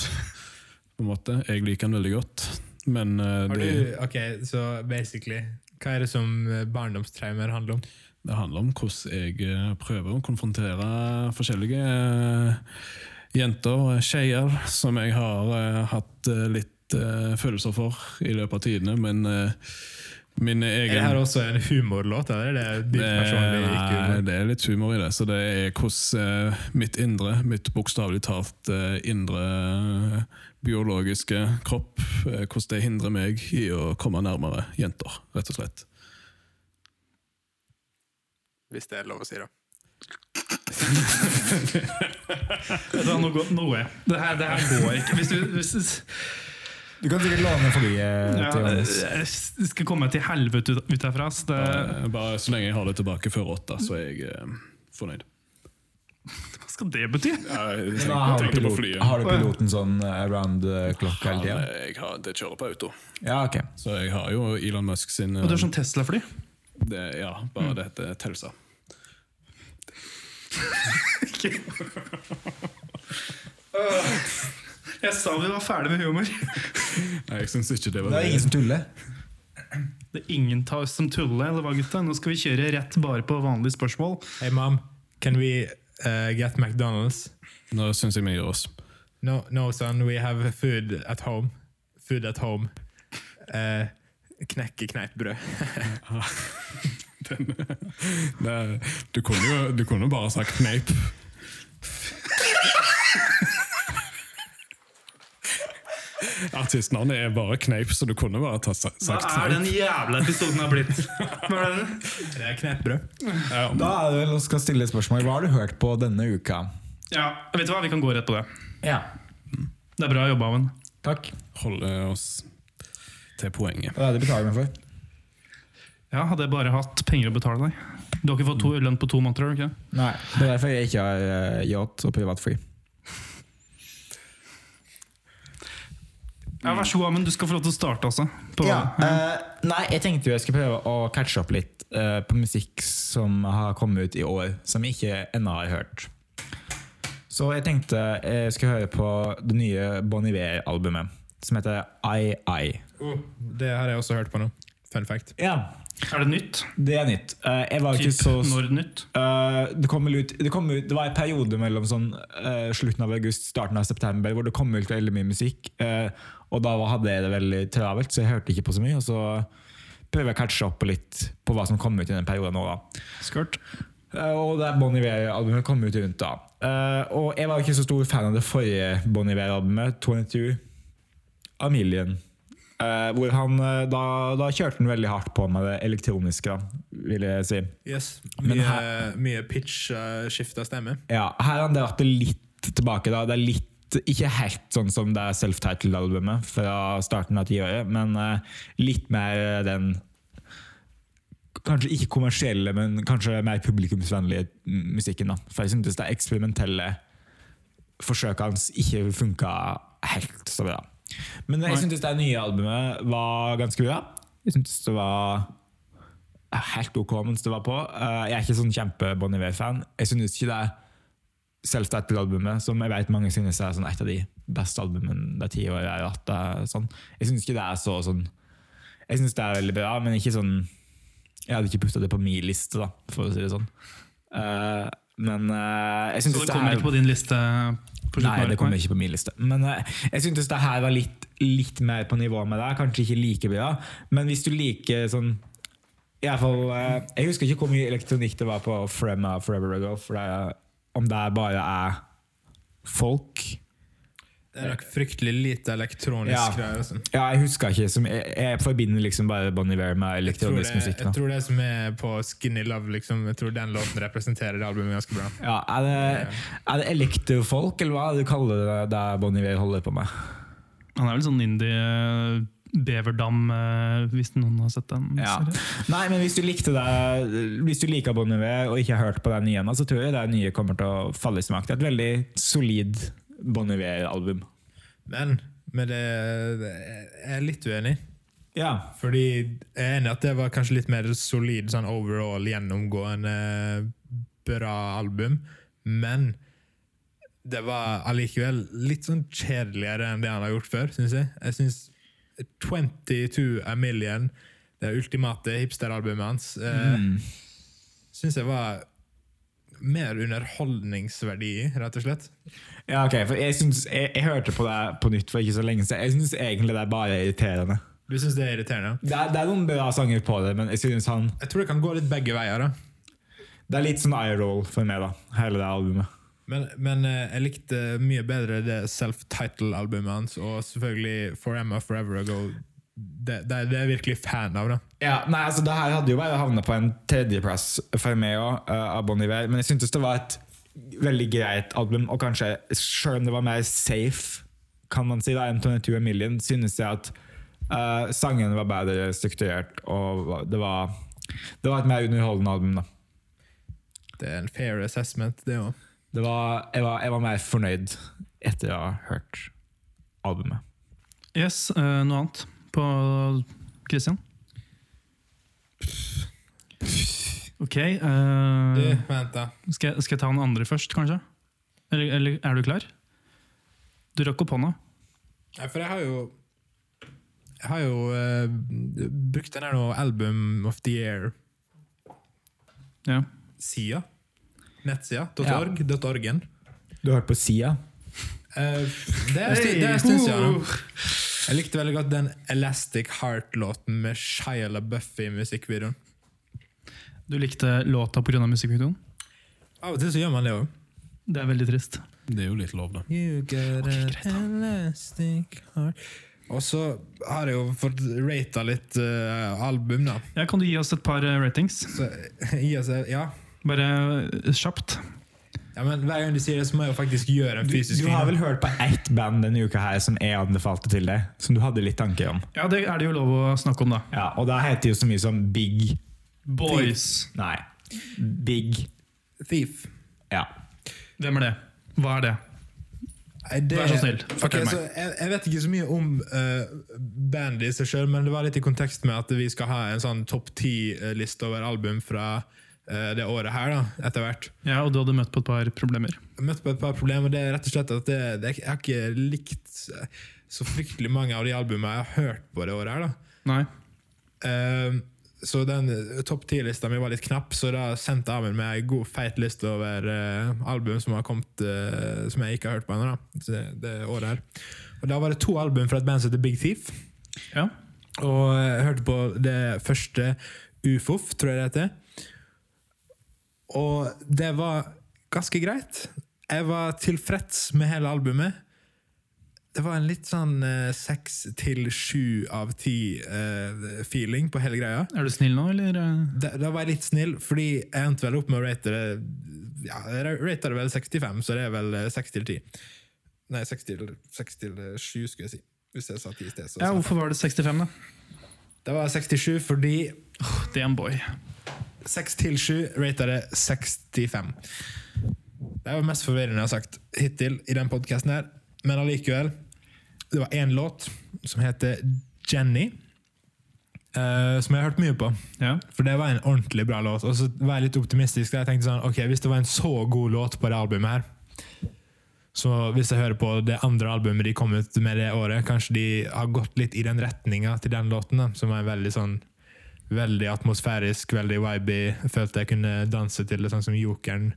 [SPEAKER 5] på en måte. Jeg liker den veldig godt, men eh,
[SPEAKER 3] Har
[SPEAKER 5] det,
[SPEAKER 3] du, ok, så basically Hva er det som eh, barndomstraumer handler om?
[SPEAKER 5] det handler om hvordan jeg eh, prøver å konfrontere forskjellige eh, jenter og skeier som jeg har eh, hatt eh, litt eh, følelser for i løpet av tidene, men eh, min
[SPEAKER 3] Er Eh, det
[SPEAKER 5] egen
[SPEAKER 3] her også en humorlåt? eller er det dypt personlig? ikke humor?
[SPEAKER 5] Nei, det er litt humor i det. Så det er hvordan eh, mitt indre, mitt bokstavelig talt eh, indre eh, biologiske kropp, eh, hvordan det hindrer meg i å komme nærmere jenter, rett og slett.
[SPEAKER 3] Hvis det er lov å si, da.
[SPEAKER 2] Vet du hva, Nå går nå går jeg. Det her, det her går ikke. Hvis du, hvis,
[SPEAKER 4] Du kan sikkert låne flyet eh,
[SPEAKER 2] ja,
[SPEAKER 4] til Johannes.
[SPEAKER 2] jeg skal komme meg til helvete ut, ut herfra. ass. Det,
[SPEAKER 5] Eh, Bare så lenge jeg har det tilbake før åtte, så er jeg eh, fornøyd.
[SPEAKER 2] skal det bety?
[SPEAKER 5] Jeg
[SPEAKER 4] Men Har du
[SPEAKER 5] tenkte på
[SPEAKER 4] pilot-
[SPEAKER 5] flyet.
[SPEAKER 4] har du piloten sånn eh, around the clock hele
[SPEAKER 5] Ja,
[SPEAKER 4] tida?
[SPEAKER 5] men jeg har, det kjører på auto.
[SPEAKER 4] Ja, ok.
[SPEAKER 5] Så jeg har jo Elon Musk sin eh,
[SPEAKER 2] Og du er sånn Tesla-fly?
[SPEAKER 5] det, Ja, bare det heter Telsa.
[SPEAKER 2] Jeg sa vi var ferdig med humor.
[SPEAKER 5] Nei, jeg syns ikke det var
[SPEAKER 4] Det er ingen som tuller.
[SPEAKER 2] Det er ingen av oss som tuller, eller hva, gutta? Nå skal vi kjøre rett bare på vanlige spørsmål.
[SPEAKER 3] Hey, mom, can we uh, get McDonald's?
[SPEAKER 5] Nå syns jeg vi gir oss.
[SPEAKER 3] No, no, son, we have food at home. Food at home. Uh, knekke kneippbrød.
[SPEAKER 5] Den, det, du kunne jo du kunne jo bare sagt kneip. Artistnavnet er bare kneip, så du kunne bare ta, sagt
[SPEAKER 2] Hva er
[SPEAKER 5] kneip.
[SPEAKER 2] den jævla episoden har blitt? Hva er den?
[SPEAKER 3] Det er kneippbrød.
[SPEAKER 5] Ja,
[SPEAKER 4] Da er det vel å skal stille et spørsmål. Hva har du hørt på denne uka?
[SPEAKER 2] Ja, vet du hva? Vi kan gå rett på det.
[SPEAKER 4] Ja.
[SPEAKER 2] Det er bra jobba, Aven.
[SPEAKER 4] Takk.
[SPEAKER 5] holde eh, oss til poenget.
[SPEAKER 4] Det er det betaler jeg meg for.
[SPEAKER 2] Ja, hadde jeg bare hatt penger å betale deg. Du har ikke fått to lønn på to måneder? har du ikke? det?
[SPEAKER 4] Nei, Det er derfor jeg ikke har eh, yacht og privatfly.
[SPEAKER 2] Ja, Vær så god, Amund. Du skal få lov til å starte også. På,
[SPEAKER 4] Ja, eh, nei, jeg tenkte jo jeg skulle prøve å catche opp litt eh, på musikk som har kommet ut i år, som jeg ikke ennå har hørt. Så jeg tenkte jeg skulle høre på det nye Bon Iver-albumet, som heter I I.
[SPEAKER 3] Mm. Det har jeg også hørt på nå. Fun fact.
[SPEAKER 4] Ja,
[SPEAKER 2] Er det nytt?
[SPEAKER 4] det er nytt. Eh, jeg var ikke
[SPEAKER 2] Typ
[SPEAKER 4] så
[SPEAKER 2] når nytt?
[SPEAKER 4] Eh, det, kom vel ut, det, kom ut, det var en periode mellom sånn, eh, slutten av august starten av september hvor det kom ut veldig mye musikk. eh, og da var- hadde jeg det veldig travelt, så jeg hørte ikke på så mye. Og så prøver jeg å catche opp på litt på hva som kom ut i den perioden nå. da.
[SPEAKER 2] Skørt.
[SPEAKER 4] Eh, og det Bon Iver-albumet kom ut rundt da. Eh, og jeg var ikke så stor fan av det forrige Bon Iver-albumet, 22 A Million. Eh, hvor han, eh, da, da kjørte han veldig hardt på med det elektroniske, da, vil jeg si.
[SPEAKER 3] Yes.
[SPEAKER 4] Men
[SPEAKER 3] Mye, mye pitch uh, skifta stemme.
[SPEAKER 4] Ja, her har det vært litt tilbake da. Det er litt, ikke helt sånn som det er self-titled-albumet fra starten av tiåret, men eh, litt mer eh, den Kanskje ikke kommersielle, men kanskje mer publikumsvennlige mm, musikken. da. For jeg syntes det eksperimentelle forsøket hans ikke funka helt så bra. Men jeg syntes det nye albumet var ganske bra. Jeg syntes det var helt ok mens det var på. Eh, Jeg er ikke sånn kjempe-Bon Iver-fan. Jeg synes ikke det er Self-Titled-albumet, som jeg vet mange synes er sånn et av de beste albumene det ti år jeg har hatt. det er Sånn. Jeg synes ikke det er så sånn Jeg synes det er veldig bra, men ikke sånn Jeg hadde ikke putta det på min liste, da, for å si det sånn. Eh, men eh, jeg synes
[SPEAKER 2] Så det
[SPEAKER 4] det
[SPEAKER 2] kommer
[SPEAKER 4] er-
[SPEAKER 2] ikke på din liste? På slutten
[SPEAKER 4] Nei,
[SPEAKER 2] av
[SPEAKER 4] det
[SPEAKER 2] uka?
[SPEAKER 4] kommer ikke på min liste. Men eh, jeg syntes det her var litt, litt mer på nivå med deg. Kanskje ikke like bra, men hvis du liker sånn i hvert fall, eh, Jeg husker ikke hvor mye elektronikk det var på Frema Forever Ago. For det, er- om det er bare er folk
[SPEAKER 3] Det er nok fryktelig lite elektronisk
[SPEAKER 4] Ja.
[SPEAKER 3] greier. altså.
[SPEAKER 4] Ja, jeg husker ikke. Som, jeg, jeg forbinder liksom bare Bon Iver med
[SPEAKER 3] Jeg tror,
[SPEAKER 4] elektronisk
[SPEAKER 3] det,
[SPEAKER 4] musikk.
[SPEAKER 3] jeg
[SPEAKER 4] Da.
[SPEAKER 3] tror det som er på Skinny Love, liksom, jeg tror den låten representerer det albumet ganske bra.
[SPEAKER 4] Ja, er det, er det elektrofolk, eller hva er det du kaller det der Bon Iver holder på med?
[SPEAKER 2] Han er vel sånn indie eh, Beverdam, eh, hvis noen har sett den.
[SPEAKER 4] Ja.
[SPEAKER 2] serien.
[SPEAKER 4] Nei, men hvis du likte det Hvis du liker Bon Iver og ikke har hørt på den nye ennå, så tror jeg det nye kommer til å falle i smak. Det er et veldig solid Bon Iver-album.
[SPEAKER 3] Men med det, det jeg er litt uenig.
[SPEAKER 4] Ja.
[SPEAKER 3] Fordi jeg er enig at det var kanskje litt mer solid sånn overall gjennomgående bra album, men det var allikevel litt sånn kjedeligere enn det han har gjort før, syns jeg. Jeg syns 22 A Million, det ultimate hipsteralbumet hans, mm. syns jeg var mer underholdningsverdi i, rett og slett.
[SPEAKER 4] ja, ok, for jeg, synes, jeg, jeg hørte på det på nytt for ikke så lenge siden. Jeg syns egentlig det er bare irriterende.
[SPEAKER 3] Du syns det er irriterende?
[SPEAKER 4] Det er, det er noen bra sanger på det, men jeg synes han
[SPEAKER 3] Jeg tror det kan gå litt begge veier. da
[SPEAKER 4] Det er litt sånn eye roll for meg, da. Hele det albumet.
[SPEAKER 3] Men, men eh, jeg likte mye bedre det self-title-albumet hans, og selvfølgelig Forever Forever Ago. Det, det, det er jeg virkelig fan av. da
[SPEAKER 4] Ja, nei, altså Det her hadde jo bare havna på en tredjeplass for meg òg, av Bon Iver. Men jeg syntes det var et veldig greit album, og kanskje selv om det var mer safe, kan man si, da, enn 22 A Million, synes jeg at eh, sangene var bedre strukturert, og det var, det var et mer underholdende album. da
[SPEAKER 3] Det er en fair assessment, det òg.
[SPEAKER 4] Det var, jeg, var, jeg var mer fornøyd etter å ha hørt albumet.
[SPEAKER 2] Yes, eh, noe annet på Christian? Ok, eh,
[SPEAKER 3] vent, da.
[SPEAKER 2] skal, jeg, skal jeg ta den andre først, kanskje? Eller, eller er du klar? Du rakk opp hånda.
[SPEAKER 3] Nei, for jeg har jo Jeg har jo eh, brukt den her nå Album of the Year-sida.
[SPEAKER 2] Ja.
[SPEAKER 3] Nettsida. .org. .orgen.
[SPEAKER 4] Du har hørt på Sia?
[SPEAKER 3] Eh, det er en stund- det er en stund siden. nå. Jeg likte veldig godt den Elastic Heart-låten med Shia LaBeouf i musikkvideoen.
[SPEAKER 2] Du likte låta pga. musikkvideoen?
[SPEAKER 3] Av og til så gjør man det òg.
[SPEAKER 2] Det er veldig trist.
[SPEAKER 5] Det er jo litt lov, da.
[SPEAKER 3] You got an elastic heart Og så har jeg jo fått rata litt eh, album, da.
[SPEAKER 2] Ja, kan du gi oss et par eh, ratings?
[SPEAKER 3] Så i oss er- ja.
[SPEAKER 2] Bare eh, kjapt.
[SPEAKER 3] ja, men Hver gang du sier det, så må jeg jo faktisk gjøre en
[SPEAKER 4] Du,
[SPEAKER 3] fysisk
[SPEAKER 4] du har vel hørt på ett band denne uka her som jeg anbefalte til deg, som du hadde litt tanker om.
[SPEAKER 2] Ja, det er det jo lov å snakke om, da.
[SPEAKER 4] Ja, og da heter det jo så mye som Big
[SPEAKER 2] Boys.
[SPEAKER 4] Nei, Big
[SPEAKER 3] Thief.
[SPEAKER 4] Ja.
[SPEAKER 2] Hvem er det? Hva er det?
[SPEAKER 3] Nei, det-
[SPEAKER 2] Vær så snill, fortell
[SPEAKER 3] Ok,
[SPEAKER 2] meg.
[SPEAKER 3] så jeg, jeg vet ikke så mye om eh, bandet i seg sjøl, men det var litt i kontekst med at vi skal ha en sånn topp ti-liste over album fra eh, det året her, da, etter hvert.
[SPEAKER 2] Ja, og du hadde møtt på et par problemer.
[SPEAKER 3] Jeg møtte på et par problemer. Det er rett og slett at det, det, jeg har ikke likt så fryktelig mange av de albumene jeg har hørt på det året her. da.
[SPEAKER 2] Nei.
[SPEAKER 3] Eh, så den topp ti-lista mi var litt knapp, så da sendte Amund meg ei god, feit liste over eh, album som har kommet eh, Som jeg ikke har hørt på ennå. da, så Det, det året her. Og Da var det to album fra et band som heter Big Thief.
[SPEAKER 2] Ja.
[SPEAKER 3] Og jeg hørte på det første UFOF, tror jeg det heter. Og det var ganske greit. Jeg var tilfreds med hele albumet. Det var en litt sånn eh, seks til sju av ti-feeling på hele greia.
[SPEAKER 2] Er du snill nå, eller? eh?
[SPEAKER 3] Da, da var jeg litt snill, fordi jeg endte vel opp med å rate det ja, Jeg rata det vel 65, så det er vel eh, 6 til 10. Nei, 6 til, 6 til 7, skulle jeg si. Hvis jeg sa 10 i sted. Så, sa
[SPEAKER 2] Ja,
[SPEAKER 3] jeg-
[SPEAKER 2] hvorfor var det 65, da?
[SPEAKER 3] Det var 67 fordi
[SPEAKER 2] Åh, Det er en boy.
[SPEAKER 3] 6 til 7 rata det 65. Det er jo mest forvirrende jeg har sagt hittil i den podkasten her, men allikevel. Det var én låt som heter Jenny, eh, som jeg har hørt mye på.
[SPEAKER 2] Ja.
[SPEAKER 3] For det var en ordentlig bra låt. Og så var jeg litt optimistisk. da. Jeg tenkte sånn, ok, Hvis det var en så god låt på det albumet her Så hvis jeg hører på det andre albumet de kom ut med det året, kanskje de har gått litt i den retninga til den låten, da, som er veldig sånn Veldig atmosfærisk, veldig vibey. Jeg følte jeg kunne danse til det, sånn som Jokeren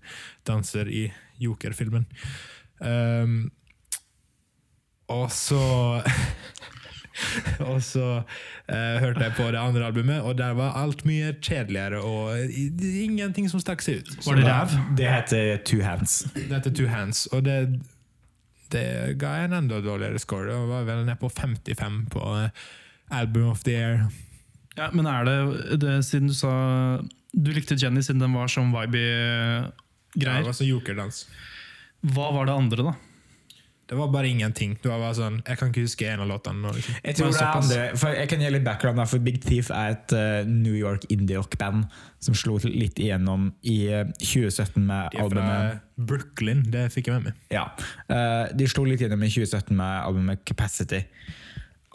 [SPEAKER 3] danser i Joker-filmen. Ehm, og så Og så eh, hørte jeg på det andre albumet, og der var alt mye kjedeligere. Og i- i- ingenting som stakk seg ut.
[SPEAKER 2] Var det
[SPEAKER 3] Så da-
[SPEAKER 2] ræv?
[SPEAKER 4] Det heter Two Hands.
[SPEAKER 3] Det heter Two Hands, og det, det ga jeg en enda dårligere score. Det var vel ned på 55 på eh, Album of the Year.
[SPEAKER 2] Ja, men er det, det siden du sa Du likte Jenny siden den var sånn
[SPEAKER 3] Ja, Det
[SPEAKER 2] vibey-greier.
[SPEAKER 3] var sånn jokerdans.
[SPEAKER 2] Hva var det andre, da?
[SPEAKER 3] Det var bare ingenting. Det var bare sånn, Jeg kan ikke huske en av låtene. nå, Liksom.
[SPEAKER 4] Jeg tror
[SPEAKER 2] Bare
[SPEAKER 4] det er
[SPEAKER 2] såpass.
[SPEAKER 4] andre for Jeg kan gi litt background der, for Big Thief er et eh, New York indie-rock-band som slo til litt igjennom i eh, 2017 med
[SPEAKER 3] De er fra
[SPEAKER 4] albumet
[SPEAKER 3] Brooklyn, det fikk jeg med meg.
[SPEAKER 4] Ja. Eh, de slo litt gjennom i 2017 med albumet Capacity.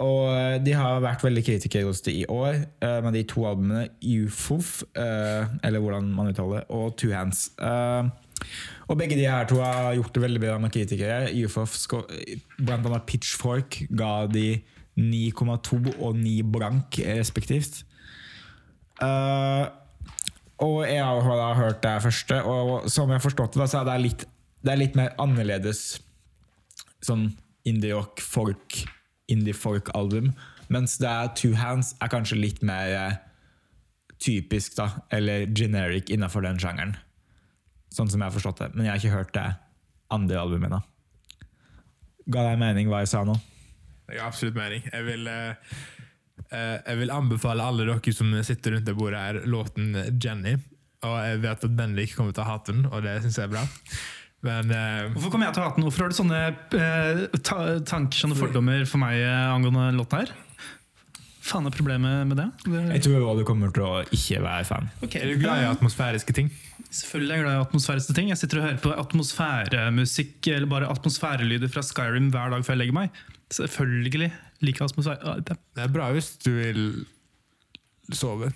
[SPEAKER 4] Og eh, de har vært veldig kritikerroste i år eh, med de to albumene UFOF, eh, eller hvordan man uttaler det, og Two Hands. Eh, og begge de her to har gjort det veldig bra med kritikere. UFOF, sko- blant annet Pitchfork, ga de 9,2 og 9 blank eh, respektivt. Eh, og jeg har jo da hørt det første, og som jeg har forstått det, så er det litt, det er litt mer annerledes sånn indie-rock, folk, indie-folk-album. Mens det er Two Hands er kanskje litt mer eh, typisk, da, eller generic innenfor den sjangeren. Sånn som jeg har forstått det. Men jeg har ikke hørt det andre albumet ennå. Ga deg mening hva jeg sa nå?
[SPEAKER 3] Det gir absolutt mening. Jeg vil, eh, eh, jeg vil anbefale alle dere som sitter rundt det bordet her, låten 'Jenny'. Og jeg vet at Bendik kommer til å hate den, og det syns jeg er bra. Men eh,
[SPEAKER 2] Hvorfor kommer jeg til å hate den? Hvorfor har du sånne eh, ta tanker, sånne fordommer for meg eh, angående låten her? faen er problemet med det? det
[SPEAKER 4] Jeg tror også du kommer til å ikke være fan.
[SPEAKER 2] ok.
[SPEAKER 3] Er du glad i atmosfæriske ting?
[SPEAKER 2] Selvfølgelig er jeg glad i atmosfæriske ting. Jeg sitter og hører på atmosfæremusikk eller bare atmosfærelyder fra Skyrim hver dag før jeg legger meg. Selvfølgelig liker jeg atmosfære. Ja, det-
[SPEAKER 3] Det er bra hvis du vil sove.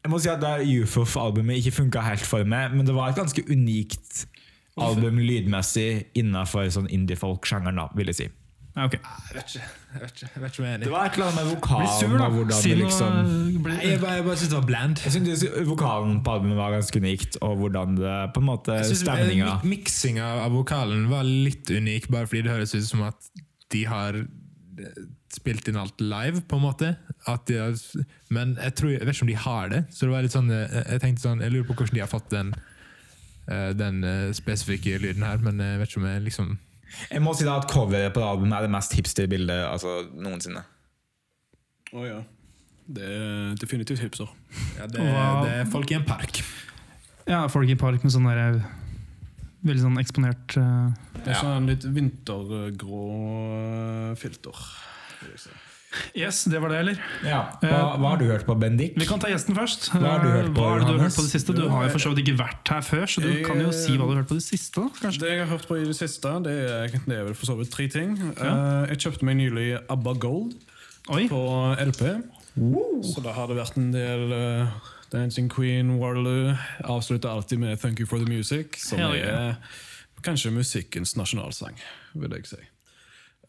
[SPEAKER 4] Jeg må si at det UFOF-albumet ikke funka helt for meg, men det var et ganske unikt album lydmessig innafor sånn indie-folk-sjangeren, da, vil jeg si.
[SPEAKER 2] Ja, ok.
[SPEAKER 3] Jeg vet ikke, jeg vet ikke, jeg vet ikke hva jeg er
[SPEAKER 4] Det
[SPEAKER 3] enig i.
[SPEAKER 4] var et eller annet med
[SPEAKER 2] Bli sur,
[SPEAKER 4] vokalen
[SPEAKER 2] da.
[SPEAKER 4] og hvordan
[SPEAKER 2] Si noe,
[SPEAKER 4] det
[SPEAKER 2] eh,
[SPEAKER 4] liksom
[SPEAKER 2] bli-
[SPEAKER 3] Nei, Jeg bare, jeg bare synes det var bland.
[SPEAKER 4] Jeg synes vokalen på albumet var ganske unikt, og hvordan det på en måte
[SPEAKER 3] Jeg synes
[SPEAKER 4] Stemninga.
[SPEAKER 3] mik- Miksinga av vokalen var litt unik, bare fordi det høres ut som at de har eh, spilt inn alt live, på en måte. At de har, men jeg, tror, jeg vet ikke om de har det. Så det var litt sånn, eh, jeg tenkte sånn, jeg lurer på hvordan de har fått den, eh, den eh, spesifikke lyden her, men jeg vet ikke om jeg liksom
[SPEAKER 4] Jeg må si da at coveret på det albumet er det mest hipster bildet altså, noensinne.
[SPEAKER 5] Å ja. Det er definitivt hipster.
[SPEAKER 3] det,
[SPEAKER 2] Wow.
[SPEAKER 3] er folk i en park.
[SPEAKER 2] ja, folk i park med sånn der eh, Veldig sånn eksponert eh,
[SPEAKER 5] Det er sånn litt vintergrå eh, filter. vil jeg si.
[SPEAKER 2] Yes, det var det, eller?
[SPEAKER 4] Ja. Hva, hva har du hørt på, Bendik?
[SPEAKER 2] Vi kan ta gjesten først.
[SPEAKER 4] Hva har du hørt på,
[SPEAKER 2] Hva er det du har
[SPEAKER 4] Johannes?
[SPEAKER 2] hørt på det siste? Du har jo for så vidt ikke vært her før, så du
[SPEAKER 5] Jeg-
[SPEAKER 2] kan jo si hva du har hørt på det siste. da, kanskje.
[SPEAKER 5] Det jeg har hørt på i det siste, det er, det er vel for så vidt tre ting. Eh, jeg kjøpte meg nylig ABBA Gold
[SPEAKER 2] Oi,
[SPEAKER 5] på LP. Så da har det vært en del eh, Dancing Queen, Waterloo. Avslutter alltid med Thank You For The Music, som
[SPEAKER 2] Hell yeah.
[SPEAKER 5] er kanskje musikkens nasjonalsang, vil jeg si.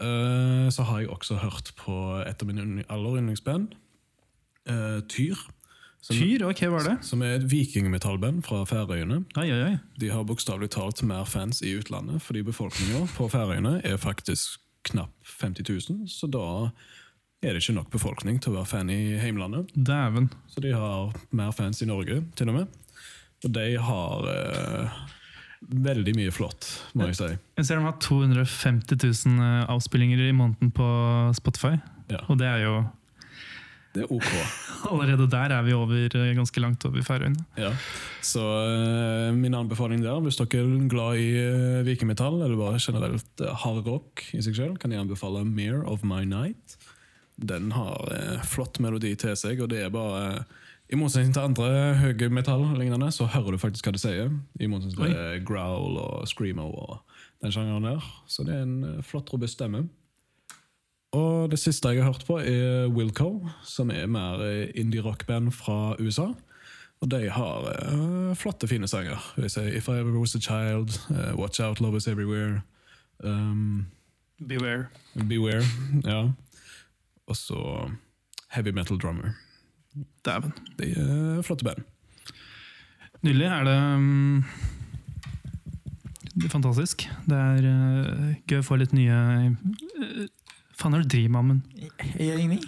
[SPEAKER 5] Eh, så har jeg også hørt på et av mine uni- aller yndlingsband, eh, Tyr. Som,
[SPEAKER 2] Tyr, ok, hva er det?
[SPEAKER 5] som er et vikingmetallband fra Færøyene.
[SPEAKER 2] Oi, oi, oi.
[SPEAKER 5] De har bokstavelig talt mer fans i utlandet, fordi befolkninga på Færøyene er faktisk knapp 50 000, så da er det ikke nok befolkning til å være fan i heimlandet.
[SPEAKER 2] Dæven.
[SPEAKER 5] Så de har mer fans i Norge, til og med. Og de har eh, veldig mye flott, må jeg si.
[SPEAKER 2] Jeg ser de har 250 000 eh, avspillinger i måneden på Spotify.
[SPEAKER 5] Ja.
[SPEAKER 2] Og det er jo
[SPEAKER 5] Det er ok.
[SPEAKER 2] Allerede der er vi over, eh, ganske langt over Færøyene.
[SPEAKER 5] Ja. Så eh, min anbefaling der, hvis dere er glad i eh, vikingmetall, eller bare generelt eh, hard rock i seg selv, kan jeg anbefale Mere of My Night. Den har eh, flott melodi til seg, og det er bare eh, I motsetning til andre høye metall, lignende, så hører du faktisk hva det sier. I motsetning til eh, growl og screamo og den sjangeren der. Så det er en eh, flott, robust stemme. Og det siste jeg har hørt på, er Wilco, som er mer eh, indie-rockband fra USA. Og de har eh, flotte, fine sanger. Vil jeg si If I Ever Was A Child, eh, Watch Out, Love Is Everywhere, um,
[SPEAKER 2] Beware.
[SPEAKER 5] Beware. ja. Og så Heavy Metal Drummer.
[SPEAKER 2] Dæven.
[SPEAKER 5] De er flotte band.
[SPEAKER 2] Nydelig. Er det mm, det er Fantastisk. Det er eh, gøy å få litt nye eh, Faen, er det du driver med, Amund?
[SPEAKER 4] Jeg er enig.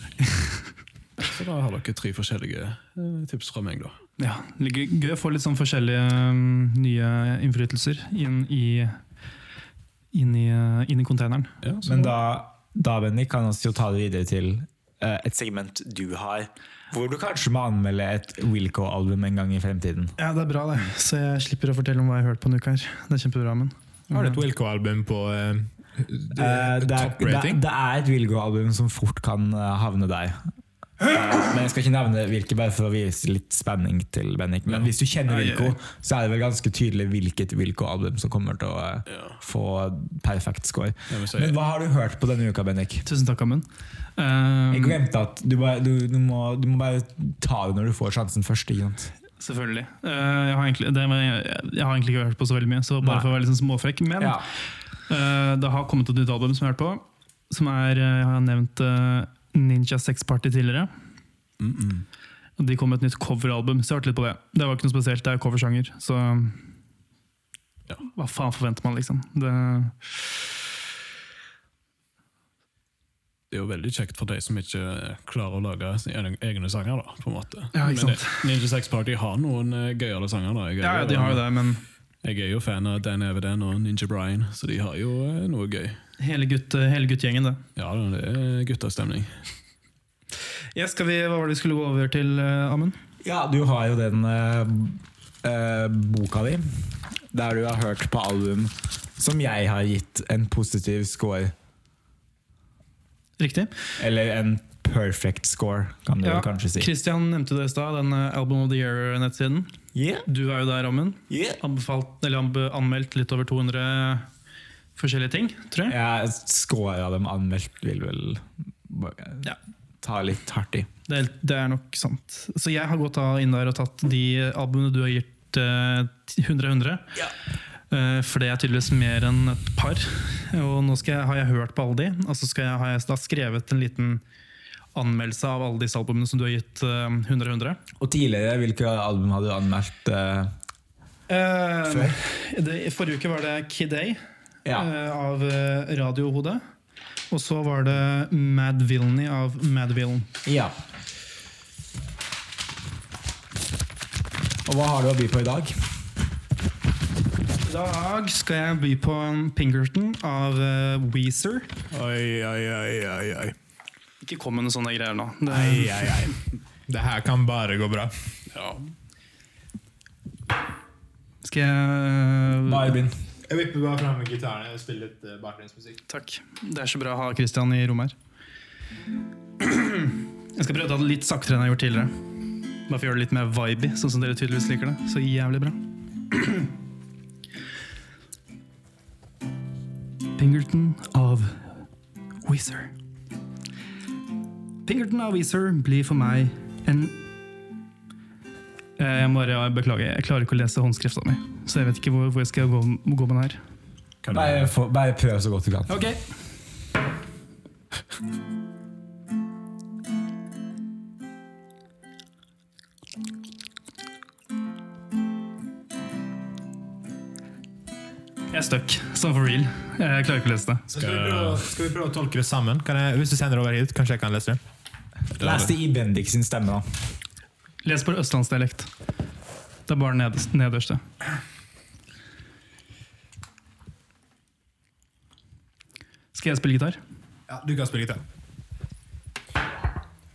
[SPEAKER 5] Så da har dere tre forskjellige eh, tips fra meg, da.
[SPEAKER 2] Ja, det er gøy- gøy å få litt sånn forskjellige mm, nye innflytelser inn i inn i, eh, inn i konteineren.
[SPEAKER 5] Ja, så,
[SPEAKER 4] Men da, da Bendik, kan vi jo ta det videre til eh, et segment du har, hvor du kanskje må anmelde et Wilco-album en gang i fremtiden.
[SPEAKER 2] Ja, det er bra, det. Så jeg slipper å fortelle om hva jeg har hørt på en uke her. Det er kjempebra, men
[SPEAKER 3] Har du et Wilco-album på eh,
[SPEAKER 4] Eh, det, er,
[SPEAKER 3] top
[SPEAKER 4] det,
[SPEAKER 3] rating?
[SPEAKER 4] det er et Wilco-album som fort kan eh, havne der. Eh, Men jeg skal ikke nevne hvilket, bare for å vise litt spenning til Bendik. Men hvis du kjenner
[SPEAKER 2] Ai, ai,
[SPEAKER 4] Wilco, så er det vel ganske tydelig hvilket Wilco-album som kommer til å eh, få perfekt score.
[SPEAKER 5] jeg vil si,
[SPEAKER 4] Men hva har du hørt på denne uka, Bendik?
[SPEAKER 2] Tusen takk, Amund. Eh,
[SPEAKER 4] Jeg glemte at du, bare, du, du, må, du må bare ta det når du får sjansen først. Ikke sant?
[SPEAKER 2] Selvfølgelig. Eh, jeg, har egentlig, det, med- jeg, jeg har egentlig ikke hørt på så veldig mye, så bare
[SPEAKER 4] Nei.
[SPEAKER 2] for å være litt sånn småfrekk. Men
[SPEAKER 4] Ja.
[SPEAKER 2] eh, det har kommet et nytt album som jeg har hørt på. Som er, eh, Jeg har nevnt eh, Ninja Sex Party tidligere. Og De kom med et nytt coveralbum, så jeg har hørt litt på det. Det var ikke noe spesielt, det er coversjanger. Så
[SPEAKER 5] Ja.
[SPEAKER 2] hva faen forventer man, liksom? Det,
[SPEAKER 5] det er jo veldig kjekt for de som ikke klarer å lage sine egne sanger, da, på en måte.
[SPEAKER 2] Ja, ikke
[SPEAKER 5] Men det, Ninja Sex Party har noen eh, gøyale sanger, da. Jeg er
[SPEAKER 2] ja, ja,
[SPEAKER 5] jo-
[SPEAKER 2] de har jo det, men
[SPEAKER 5] Jeg er jo fan av Dan Eveden og Ninja Brian, så de har jo eh, noe gøy.
[SPEAKER 2] hele, gutt, eh, hele guttgjengen, det.
[SPEAKER 5] Ja, det er guttastemning.
[SPEAKER 2] Ja, skal vi, hva var det vi skulle gå over til, eh, Amund?
[SPEAKER 4] Ja, du har jo den eh, eh, boka di, der du har hørt på album som jeg har gitt en positiv score.
[SPEAKER 2] Riktig.
[SPEAKER 4] Eller en perfect score, kan du
[SPEAKER 2] Ja,
[SPEAKER 4] kanskje si.
[SPEAKER 2] Christian nevnte det i stad, den eh, Album of the Year-nettsiden.
[SPEAKER 4] Yeah,
[SPEAKER 2] Du er jo der, Amund.
[SPEAKER 4] yeah.
[SPEAKER 2] Anbefalt, eller anbe, anmeldt litt over 200 forskjellige ting, tror jeg.
[SPEAKER 4] Jeg scorer av dem anmeldt, vil vel bare
[SPEAKER 2] Ja.
[SPEAKER 4] ta litt hardt i.
[SPEAKER 2] Det, er, det er nok sant. Så jeg har gått da inn der og tatt de albumene du har gitt eh, 100-100.
[SPEAKER 4] Ja.
[SPEAKER 2] Eh, for det er tydeligvis mer enn et par. Og nå skal jeg, har jeg hørt på alle de, og så skal jeg, har jeg da skrevet en liten anmeldelse av alle disse albumene som du har gitt eh, 100-100.
[SPEAKER 4] Og tidligere, hvilke album hadde du anmeldt? eh,
[SPEAKER 2] Eh,
[SPEAKER 4] Før?
[SPEAKER 2] det, i Forrige uke var det Kid A
[SPEAKER 4] ja.
[SPEAKER 2] eh, av eh, Radiohodet. Og så var det Mad Villainy av Mad Villain.
[SPEAKER 4] ja. Og hva har du å by på i dag?
[SPEAKER 2] I dag skal jeg by på en Pinkerton av eh, Weezer.
[SPEAKER 3] Oi, oi, oi, oi, oi.
[SPEAKER 2] Ikke kom med noen sånne greier nå. Det
[SPEAKER 3] Ei, ei, ei. Det her kan bare gå bra.
[SPEAKER 5] Ja.
[SPEAKER 2] Skal jeg eh,
[SPEAKER 4] Bare begynn.
[SPEAKER 3] Jeg vipper bare fram med gitaren og spiller litt eh, bakgrunnsmusikk.
[SPEAKER 2] Takk. Det er så bra å ha Christian i rommet her. Jeg skal prøve å ta det litt saktere enn jeg har gjort tidligere. Bare for å gjøre det litt mer vibey, sånn som dere tydeligvis liker det. Så jævlig bra. Pinkerton av Weezer. Pinkerton av Weezer blir for meg en Eh, Jeg må bare beklage, jeg klarer ikke å lese håndskrifta mi. Så jeg vet ikke hvor, hvor jeg skal gå, gå med den her.
[SPEAKER 5] Kan du,
[SPEAKER 4] Bare, få- bare prøv så godt du kan.
[SPEAKER 2] Ok. Jeg er stuck, sånn for real. Jeg klarer ikke å lese det.
[SPEAKER 3] Skal vi, prøve, skal vi prøve å tolke det sammen? Kan jeg, hvis du sender det over hit, kanskje jeg kan lese det?
[SPEAKER 4] Les det i Bendik sin stemme, da.
[SPEAKER 2] Les på østlandsdialekt. Det er bare nederst, nederste. Skal jeg spille gitar?
[SPEAKER 3] Ja, du kan spille gitar.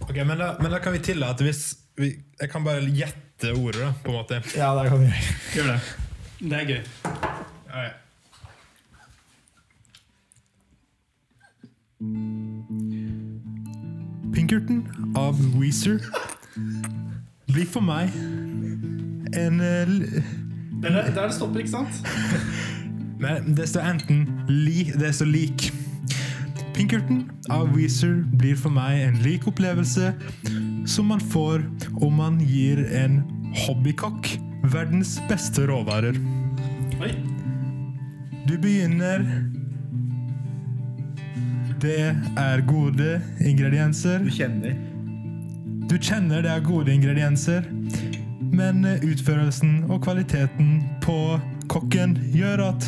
[SPEAKER 3] Ok, men da, men da kan vi tillate hvis vi, Jeg kan bare gjette ordet, da, på en måte.
[SPEAKER 4] Ja, det kan du gjøre.
[SPEAKER 2] Gjør det. Det er gøy.
[SPEAKER 3] Ja, ja. Pinkerton av Weezer blir for meg en eh, l-
[SPEAKER 2] Der, der det stopper, ikke sant?
[SPEAKER 3] Nei, det står enten li, Det står lik. Pinkerton av Weezer blir for meg en lik opplevelse som man får om man gir en hobbykokk verdens beste råvarer.
[SPEAKER 2] Oi.
[SPEAKER 3] Du begynner Det er gode ingredienser.
[SPEAKER 4] Du kjenner.
[SPEAKER 3] Du kjenner det er gode ingredienser, men utførelsen og kvaliteten på kokken gjør at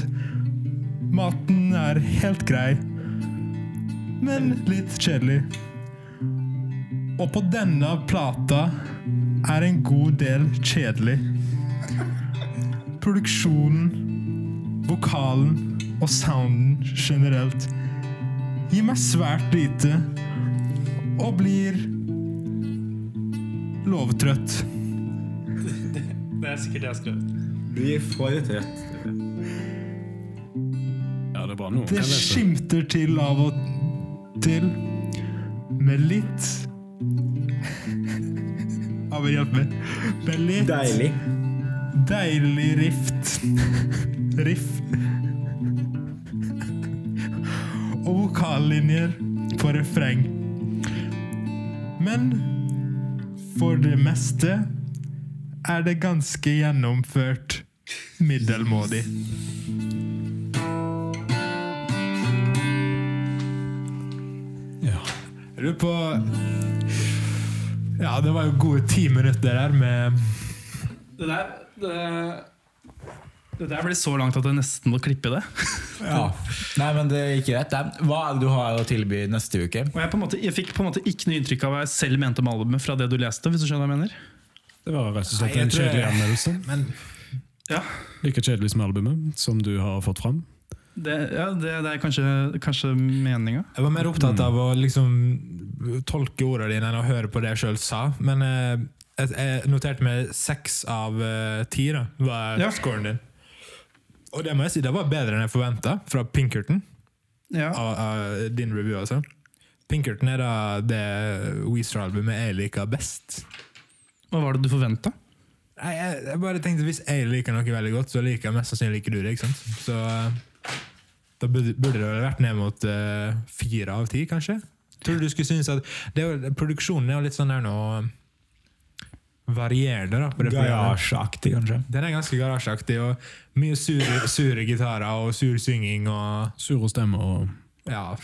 [SPEAKER 3] maten er helt grei, men litt kjedelig. Og på denne plata er en god del kjedelig. Produksjonen, vokalen og sounden generelt gir meg svært lite og blir lovtrøtt.
[SPEAKER 2] Det er sikkert det jeg har skrevet.
[SPEAKER 4] Blir for trøtt.
[SPEAKER 5] ja, det er bra nå.
[SPEAKER 3] Det skimter til av og til med litt Ja, men hjelp meg. Med litt
[SPEAKER 4] Deilig.
[SPEAKER 3] deilig rift. Riff. Og vokallinjer på refreng. Men for det meste er det ganske gjennomført middelmådig.
[SPEAKER 5] Ja.
[SPEAKER 3] Jeg lurer på Ja, det var jo gode ti minutter der med
[SPEAKER 2] Det der det, det der blir så langt at jeg nesten må klippe det.
[SPEAKER 4] Ja. Nei, men det gikk greit. det. Hva er det du har å tilby neste uke?
[SPEAKER 2] Og jeg, på en måte, jeg fikk på en måte ikke noe inntrykk av hva jeg selv mente om albumet fra det du leste. hvis du skjønner hva jeg mener.
[SPEAKER 5] Det var rett
[SPEAKER 3] Nei,
[SPEAKER 5] og slett
[SPEAKER 3] jeg
[SPEAKER 5] en
[SPEAKER 3] tror jeg-
[SPEAKER 5] kjedelig anmeldelse.
[SPEAKER 2] Ja,
[SPEAKER 5] Like kjedelig som albumet, som du har fått fram.
[SPEAKER 2] Det, ja, det, det er kanskje, kanskje meninga.
[SPEAKER 3] Jeg var mer opptatt av å liksom tolke ordene dine enn å høre på det jeg sjøl sa. Men eh, jeg, jeg noterte meg seks av eh, ti, da, var
[SPEAKER 2] Ja.
[SPEAKER 3] scoren din. Og det må jeg si, det var bedre enn jeg forventa fra Pinkerton.
[SPEAKER 2] Ja.
[SPEAKER 3] Av, av din review, altså. Pinkerton er da det Weezer-albumet jeg liker best.
[SPEAKER 2] Hva var det du forventa?
[SPEAKER 3] Nei, jeg, jeg bare tenkte Hvis jeg liker noe veldig godt, så liker jeg mest sannsynlig ikke du det. ikke sant? Så eh, da burde, burde det vel vært ned mot eh, fire av ti, kanskje? Tror du du skulle synes at det er, jo- Produksjonen er jo litt sånn der nå Varierende, da. på det programmet.
[SPEAKER 4] Garasjeaktig, kanskje.
[SPEAKER 3] Den er ganske garasjeaktig, og mye sure, sure gitarer og sur synging og
[SPEAKER 5] Sure stemmer og Mm,
[SPEAKER 3] ja,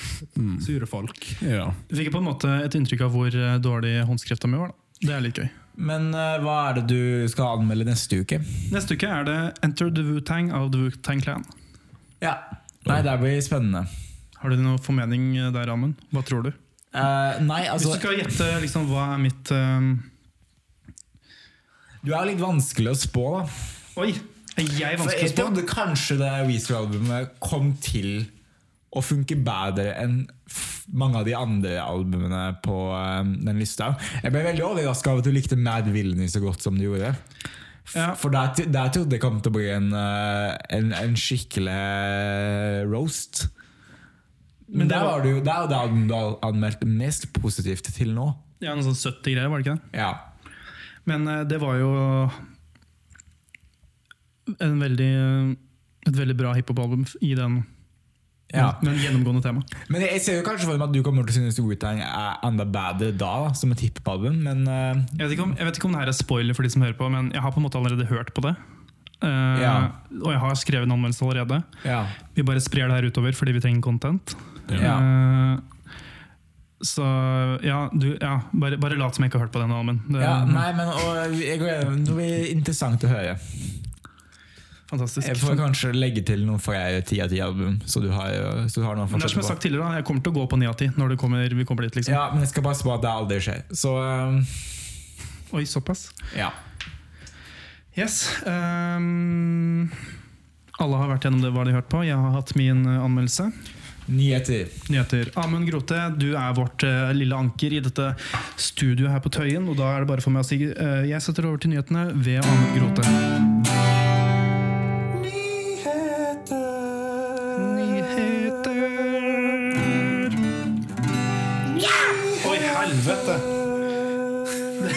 [SPEAKER 3] sure folk.
[SPEAKER 5] Ja.
[SPEAKER 2] Du fikk på en måte et inntrykk av hvor eh, dårlig håndskrifta mi var. da. Det er litt gøy.
[SPEAKER 4] Men eh, hva er det du skal anmelde neste uke?
[SPEAKER 2] Neste uke er det Enter the Wu-Tang av The Wu-Tang Clan.
[SPEAKER 4] Ja. Nei, det blir spennende.
[SPEAKER 2] Har du noen formening eh, der, Amund? Hva tror du?
[SPEAKER 4] Eh, nei, altså
[SPEAKER 2] Hvis du skal gjette liksom, hva er mitt eh,
[SPEAKER 4] Du er jo litt vanskelig å spå, da.
[SPEAKER 2] Oi! Er jeg
[SPEAKER 4] For
[SPEAKER 2] vanskelig å
[SPEAKER 4] jeg
[SPEAKER 2] spå?
[SPEAKER 4] trodde kanskje det Weezer-albumet kom til å funke bedre enn f- mange av de andre albumene på eh, den lista. Jeg ble veldig overraska over at du likte Mad Villainy så godt som du gjorde. F-
[SPEAKER 2] Ja.
[SPEAKER 4] For der, t- der trodde jeg kom til å bli en, eh, en, en skikkelig roast. Men
[SPEAKER 2] det
[SPEAKER 4] der
[SPEAKER 2] var-
[SPEAKER 4] var det jo det er jo det albumet du har anmeldt mest positivt til nå.
[SPEAKER 2] Ja, noe sånn 70 greier, var det ikke det?
[SPEAKER 4] Ja.
[SPEAKER 2] Men eh, det var jo en veldig, eh, et veldig bra hiphop-album i den
[SPEAKER 4] ja.
[SPEAKER 2] men gjennomgående tema.
[SPEAKER 4] Men jeg jeg ser jo kanskje for meg at du kommer til å synes Wu-Tang er enda bedre da, da, som et hiphop-album, men eh,
[SPEAKER 2] Jeg vet, ikke om, jeg vet ikke om det her er spoiler for de som hører på, men jeg har på en måte allerede hørt på det. Eh,
[SPEAKER 4] Ja.
[SPEAKER 2] Og jeg har skrevet en anmeldelse allerede.
[SPEAKER 4] ja.
[SPEAKER 2] Vi bare sprer det her utover fordi vi trenger content.
[SPEAKER 4] Ja.
[SPEAKER 2] Eh, så ja, du, ja bare, bare lat som jeg ikke har hørt på den albumen. Det er
[SPEAKER 4] Ja, nei, men og, jeg gleder meg. Det blir interessant å høre.
[SPEAKER 2] fantastisk.
[SPEAKER 4] Jeg får kanskje legge til noen flere 10 av 10 album, så du har, jo- så du har noe å
[SPEAKER 2] Men det er som jeg har
[SPEAKER 4] fortsette på.
[SPEAKER 2] sagt tidligere, da, jeg kommer til å gå på 9 av 10 når det kommer, vi kommer dit. liksom.
[SPEAKER 4] Ja, men jeg skal bare spå at det aldri skjer. Så um,
[SPEAKER 2] Oi, såpass.
[SPEAKER 4] ja.
[SPEAKER 2] Yes. ehm, alle har vært gjennom det hva de har hørt på. Jeg har hatt min eh, anmeldelse.
[SPEAKER 4] Nyheter.
[SPEAKER 2] Nyheter. Amund Grote, du er vårt eh, lille anker i dette studioet her på Tøyen. Og da er det bare for meg å si eh, jeg setter over til nyhetene ved Amund Grote. Nyheter Oi, helvete!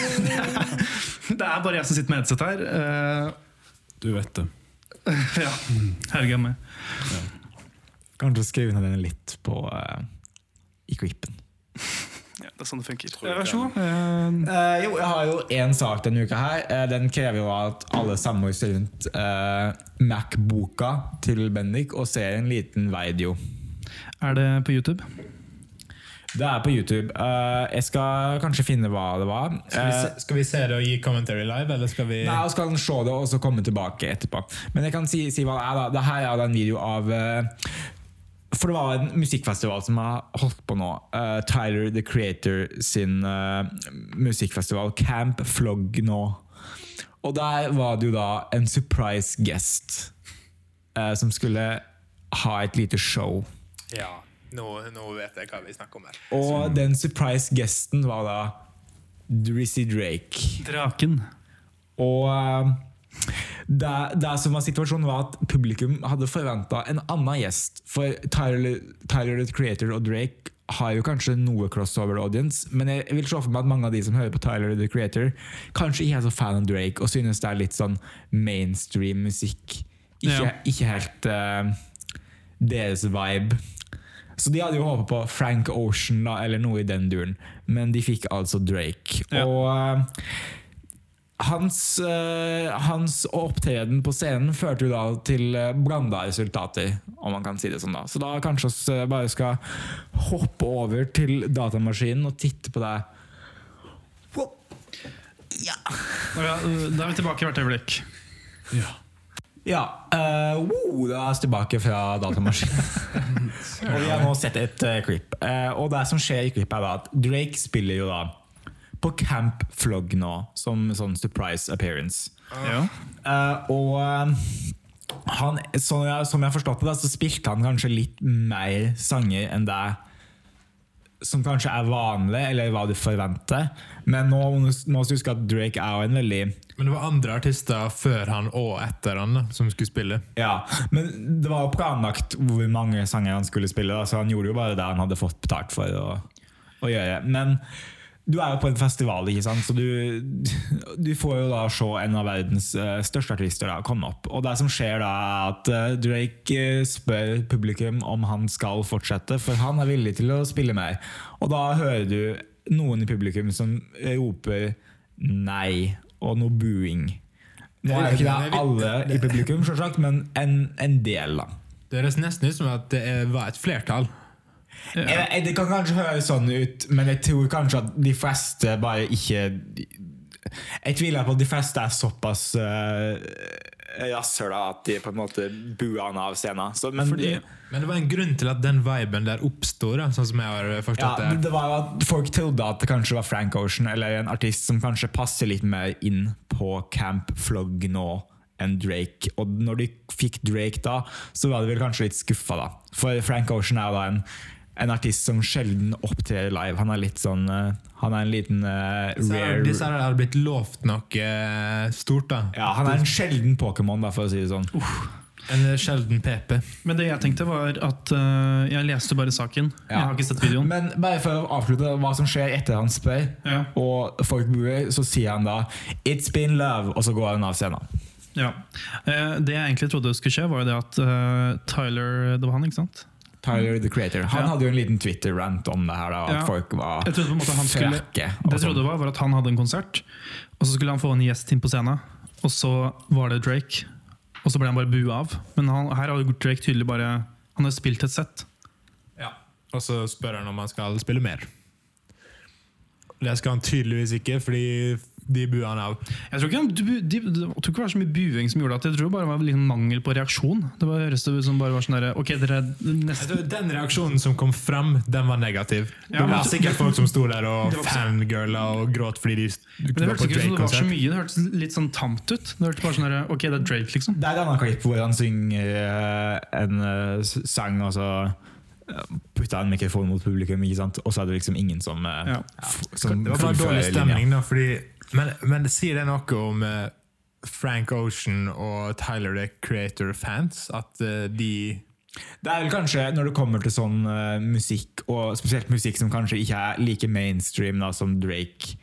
[SPEAKER 2] Det er bare jeg som sitter med headset her. eh,
[SPEAKER 5] Du vet det.
[SPEAKER 2] ja. Herregud meg.
[SPEAKER 4] Kanskje skrive ned den litt på eh, i klippen.
[SPEAKER 2] Ja, det er sånn det funker. Vær så god. Eh,
[SPEAKER 4] Eh, jo, jeg har jo én sak denne uka her. Eh, den krever jo at alle samler seg rundt eh, Mac-boka til Bendik og ser en liten video.
[SPEAKER 2] Er det på YouTube?
[SPEAKER 4] Det er på YouTube. Eh, jeg skal kanskje finne hva det var.
[SPEAKER 3] Skal vi,
[SPEAKER 4] Eh,
[SPEAKER 3] se, skal vi se det og gi commentary live, eller skal vi
[SPEAKER 4] Nei, og skal han se det og så komme tilbake etterpå. Men jeg kan si, si hva det er. da. Det her er da en video av eh, For det var en musikkfestival som har holdt på nå. eh, Tyler the Creator sin eh, musikkfestival Camp Flog nå. Og der var det jo da en surprise guest eh, som skulle ha et lite show.
[SPEAKER 3] Ja, nå, vet jeg hva vi snakker om her.
[SPEAKER 4] Og den surprise guesten var da Drizzy Drake.
[SPEAKER 2] Draken.
[SPEAKER 4] Og eh, det, det som var situasjonen var at publikum hadde forventa en annen gjest. For Tyler, Tyler the Creator og Drake har jo kanskje noe crossover audience, men jeg vil se for meg at mange av de som hører på Tyler the Creator, kanskje ikke er så fan av Drake og synes det er litt sånn mainstream musikk. Ikke,
[SPEAKER 2] Ja.
[SPEAKER 4] ikke helt eh, deres vibe. Så de hadde jo håpet på Frank Ocean da, eller noe i den duren, men de fikk altså Drake.
[SPEAKER 2] Ja.
[SPEAKER 4] Og eh, hans, eh, hans opptreden på scenen førte jo da til uh, blanda resultater, om man kan si det sånn. da. Så da kanskje oss eh, bare skal hoppe over til datamaskinen og titte på det. Wow.
[SPEAKER 2] Å ja, øh, Da er vi tilbake hvert øyeblikk.
[SPEAKER 5] Ja.
[SPEAKER 4] Ja. eh, wow, da er vi tilbake fra datamaskinen. og vi har nå sett et eh, klipp. Eh, og det som skjer i klippet, er da at Drake spiller jo da på Camp Flog nå, som sånn surprise appearance.
[SPEAKER 2] Ja.
[SPEAKER 4] Eh, og eh, han, som jeg, som jeg har forstått det, så spilte han kanskje litt mer sanger enn det som kanskje er vanlig, eller hva du forventer. Men nå må du- må du huske at Drake er jo en veldig
[SPEAKER 3] Men det var andre artister før han og etter han da, som skulle spille.
[SPEAKER 4] Ja, men det var jo planlagt hvor mange sanger han skulle spille, da, så han gjorde jo bare det han hadde fått betalt for. Og å gjøre. Men du er jo på en festival, ikke sant? så du, du får jo da se en av verdens eh, største artister da, komme opp. Og det som skjer da, er at eh, Drake eh, spør publikum om han skal fortsette, for han er villig til å spille mer. Og da hører du noen i publikum som roper nei, og noe booing. Nå er jo ikke det alle i publikum, selvsagt, men en, en del, da.
[SPEAKER 3] Det høres nesten ut som at det er- var et flertall.
[SPEAKER 4] Jeg, jeg, det kan kanskje høres sånn ut, men jeg tror kanskje at de fleste bare ikke Jeg tviler på at de fleste er såpass uh, rasshøla at de på en måte buer han av scenen. Så, men
[SPEAKER 2] Fordi-
[SPEAKER 3] Men det var en grunn til at den viben der oppsto, da, sånn som jeg har
[SPEAKER 4] ja,
[SPEAKER 3] forstått
[SPEAKER 4] det
[SPEAKER 3] det.
[SPEAKER 4] var jo at folk trodde at det kanskje var Frank Ocean eller en artist som kanskje passer litt mer inn på Camp Flog nå enn Drake. Og når de fikk Drake da, så var de vel kanskje litt skuffa, da. For Frank Ocean er jo da en, en artist som sjelden opptrer live. Han er litt sånn eh, Han er en liten eh,
[SPEAKER 3] Disse her- Disse
[SPEAKER 4] rare
[SPEAKER 3] her har blitt lovt noe eh, stort, da.
[SPEAKER 4] ja, Han er en sjelden Pokémon, da, for å si det sånn.
[SPEAKER 3] En sjelden PP.
[SPEAKER 2] Men det jeg tenkte, var at eh, jeg leste bare saken. Jeg har ikke sett videoen.
[SPEAKER 4] Men bare for å avslutte hva som skjer etter han spør,
[SPEAKER 2] Ja.
[SPEAKER 4] og folk buer, så sier han da 'It's been love', og så går han av scenen.
[SPEAKER 2] Ja. Eh, det jeg egentlig trodde skulle skje, var jo det at eh, Tyler Det var han, ikke sant?
[SPEAKER 4] Tyler the Creator. Han
[SPEAKER 2] Ja.
[SPEAKER 4] hadde jo en liten Twitter-rant om det her. Da, at
[SPEAKER 2] Ja.
[SPEAKER 4] folk var
[SPEAKER 2] Jeg trodde på en måte han skulle
[SPEAKER 4] frekke. og
[SPEAKER 2] Det jeg trodde
[SPEAKER 4] sånn.
[SPEAKER 2] var, var at han hadde en konsert, og så skulle han få en gjest inn på scenen. Og så var det Drake, og så ble han bare bua av. Men han, her har jo Drake tydelig bare Han har spilt et sett.
[SPEAKER 3] Ja. Og så spør han om han skal spille mer. Det skal han tydeligvis ikke, fordi de buer han av.
[SPEAKER 2] Jeg tror ikke, han, du- de, de, jeg tror ikke det var så mye buing som gjorde at jeg tror bare det var liksom mangel på reaksjon. Det var, høres det ut som bare var sånn der, Ok, dere er
[SPEAKER 3] Jeg
[SPEAKER 2] nesten
[SPEAKER 3] tror Den reaksjonen som kom fram, den var negativ.
[SPEAKER 2] Ja,
[SPEAKER 3] det
[SPEAKER 2] men-
[SPEAKER 3] var sikkert folk som sto der og
[SPEAKER 2] Det var-
[SPEAKER 3] fangirla og gråt fordi de
[SPEAKER 2] men Det
[SPEAKER 3] var på
[SPEAKER 2] hørtes ikke ut som det var så
[SPEAKER 3] Drake-konsert.
[SPEAKER 2] mye. Det hørtes litt sånn tamt ut. Det hørtes bare sånn der, Ok, det er Drake, liksom.
[SPEAKER 4] Det er et annet klipp hvor han synger eh, en eh, s- sang, og så eh, putter han mikrofonen mot publikum, ikke sant? og så er det liksom ingen som, eh,
[SPEAKER 2] Ja.
[SPEAKER 4] f- som
[SPEAKER 3] Det var bare
[SPEAKER 4] fullfører
[SPEAKER 3] dårlig
[SPEAKER 4] linja.
[SPEAKER 3] stemning, da, fordi Men, men sier det noe om eh, Frank Ocean og Tyler the Creator-fans? At eh, de
[SPEAKER 4] Det er vel kanskje når det kommer til sånn eh, musikk, og spesielt musikk som kanskje ikke er like mainstream da, som Drake.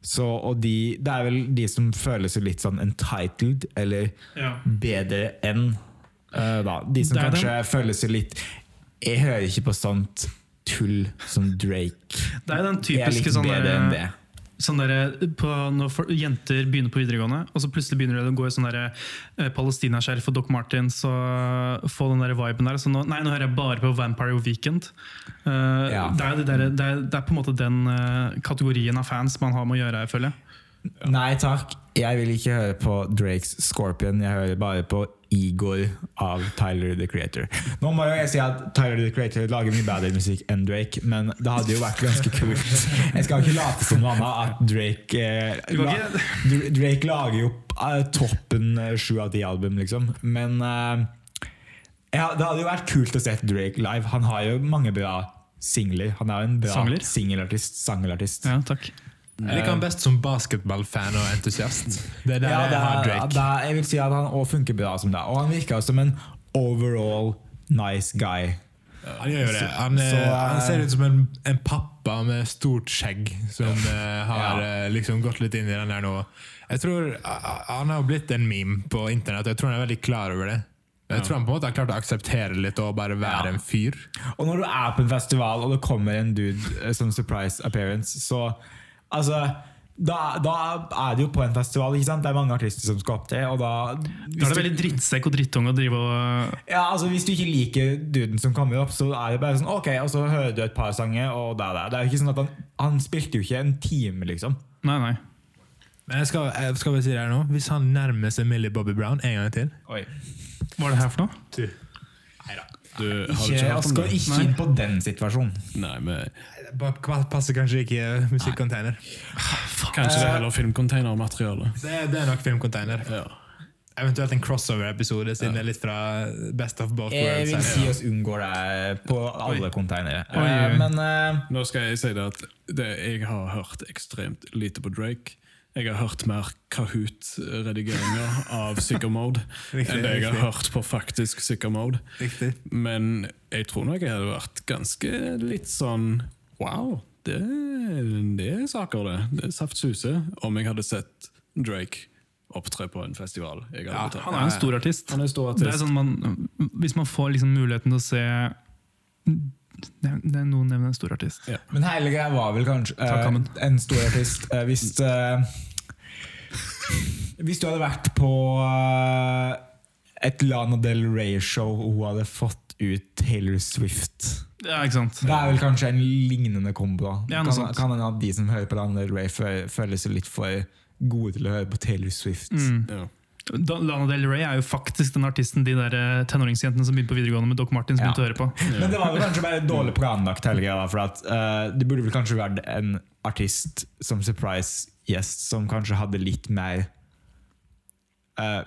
[SPEAKER 4] Så, og de, det er vel de som føler seg litt sånn entitled, eller
[SPEAKER 2] Ja.
[SPEAKER 4] bedre enn eh, da. De som
[SPEAKER 2] Det er
[SPEAKER 4] kanskje føler seg litt Jeg hører ikke på sånt tull som Drake.
[SPEAKER 2] Det er jo den
[SPEAKER 4] Jeg er litt
[SPEAKER 2] typiske sånn
[SPEAKER 4] bedre enn det.
[SPEAKER 2] der, sånn der, på, Når for, jenter begynner på videregående, og så plutselig begynner de å gå i sånn der, eh, palestinaskjerf og Doc Martens og få den der viben der. Så nå, nei, nå hører jeg bare på Vampire Weekend. Eh,
[SPEAKER 4] Ja.
[SPEAKER 2] det, er det, der, det, er, det er på en måte den eh, kategorien av fans man har med å gjøre, jeg føler jeg.
[SPEAKER 4] Nei takk, jeg vil ikke høre på Drakes Scorpion. Jeg hører bare på Igor av Tyler the Creator. Nå må jo jeg si at Tyler the Creator lager mye bedre musikk enn Drake, men det hadde jo vært ganske kult. Jeg skal ikke late som noe annet at Drake eh,
[SPEAKER 2] Du kan
[SPEAKER 4] la, Dr- Drake lager jo eh, toppen eh, sju av ti album, liksom. Men eh, ja, det hadde jo vært kult å se Drake live. Han har jo mange bra singler. Han er jo en bra
[SPEAKER 2] Sangler?
[SPEAKER 4] singelartist. Sangelartist.
[SPEAKER 2] Ja, takk.
[SPEAKER 3] Jeg liker han best som basketballfan og entusiast. eh, Det er der
[SPEAKER 4] Ja,
[SPEAKER 3] jeg
[SPEAKER 4] det
[SPEAKER 3] har
[SPEAKER 4] er,
[SPEAKER 3] Drake.
[SPEAKER 4] det er, jeg vil si at han også funker bra som det. Og han virker som en overall nice guy.
[SPEAKER 3] Han gjør jo det. Han, eh,
[SPEAKER 4] Så, eh,
[SPEAKER 3] han ser ut som en, en pappa med stort skjegg som eh, har
[SPEAKER 4] Ja.
[SPEAKER 3] eh, liksom gått litt inn i den der nå. Jeg tror eh, Han har blitt en meme på internett, og jeg tror han er veldig klar over det. Men jeg tror han på en måte har klart å akseptere litt og bare være en fyr.
[SPEAKER 4] Og når du er på en festival, og det kommer en dude eh, som surprise appearance, så Altså da, da er det jo på en festival. ikke sant? Det er mange artister som skal opptre. Og da,
[SPEAKER 2] Da er
[SPEAKER 4] hvis
[SPEAKER 2] det
[SPEAKER 4] du,
[SPEAKER 2] veldig drittsekk og drittunge å drive og
[SPEAKER 4] ja, altså, hvis du ikke liker duden som kommer opp, så er det bare sånn ok, og så hører du et par sanger, og det er det. Det er jo ikke sånn at han, han spilte jo ikke en time, liksom.
[SPEAKER 2] Nei, nei.
[SPEAKER 3] Men jeg skal, jeg skal bare si det her nå Hvis han nærmer seg Millie Bobby Brown en gang til
[SPEAKER 4] Oi.
[SPEAKER 2] Hva er det her for noe?
[SPEAKER 5] Du, har du
[SPEAKER 4] Ikke,
[SPEAKER 5] ikke hørt om
[SPEAKER 4] skal
[SPEAKER 5] det?
[SPEAKER 4] ikke inn på den situasjonen.
[SPEAKER 5] Nei, men
[SPEAKER 3] Bare kva- Passer kanskje ikke eh, musikkonteiner.
[SPEAKER 5] Kanskje det er heller filmcontainermateriale.
[SPEAKER 3] Det, det er nok filmcontainer.
[SPEAKER 5] Ja.
[SPEAKER 3] Eventuelt en crossover-episode, siden det er litt fra Best of Both
[SPEAKER 4] Jeg
[SPEAKER 3] Worlds.
[SPEAKER 4] Eh, vil
[SPEAKER 3] her.
[SPEAKER 4] si oss unngår det på alle konteinere.
[SPEAKER 2] Oi, oi, oi.
[SPEAKER 4] Men eh,
[SPEAKER 5] Nå skal jeg si det at det, jeg har hørt ekstremt lite på Drake. Jeg har hørt mer Kahoot-redigeringer av Sicker Mode
[SPEAKER 3] Riktig,
[SPEAKER 5] enn det jeg har
[SPEAKER 3] riktig.
[SPEAKER 5] hørt på faktisk Sicker Mode.
[SPEAKER 3] Riktig.
[SPEAKER 5] Men jeg tror nok jeg hadde vært ganske litt sånn Wow, det, det er saker, det. det er Saft suse om jeg hadde sett Drake opptre på en festival. Jeg hadde betalt.
[SPEAKER 2] Han er en stor artist.
[SPEAKER 5] Han er en stor
[SPEAKER 2] Det er
[SPEAKER 5] artist.
[SPEAKER 2] sånn man, hvis man får liksom muligheten til å se Nev- det er Noen nevner en stor artist.
[SPEAKER 5] Ja.
[SPEAKER 4] Men hele greia var vel kanskje eh,
[SPEAKER 2] Takk, Amund.
[SPEAKER 4] en stor artist. Eh, hvis eh, Hvis du hadde vært på eh, et Lana Del Rey-show og hun hadde fått ut Taylor Swift
[SPEAKER 2] Ja, ikke sant?
[SPEAKER 4] Det er vel kanskje en lignende kombo. da
[SPEAKER 2] Ja, noe
[SPEAKER 4] kan,
[SPEAKER 2] sånt.
[SPEAKER 4] kan hende at de som hører på Lana Del Rey, fø- føler seg litt for gode til å høre på Taylor Swift.
[SPEAKER 2] Mm.
[SPEAKER 5] Ja.
[SPEAKER 2] Da- Lana Del Rey er jo faktisk den artisten de der eh, tenåringsjentene som begynte på videregående med Doc Martins
[SPEAKER 4] Ja.
[SPEAKER 2] begynte å høre på.
[SPEAKER 4] Men det var vel kanskje bare dårlig planlagt, hele greia. da, For at eh, det burde vel kanskje vært en artist som surprise-gjest som kanskje hadde litt mer eh,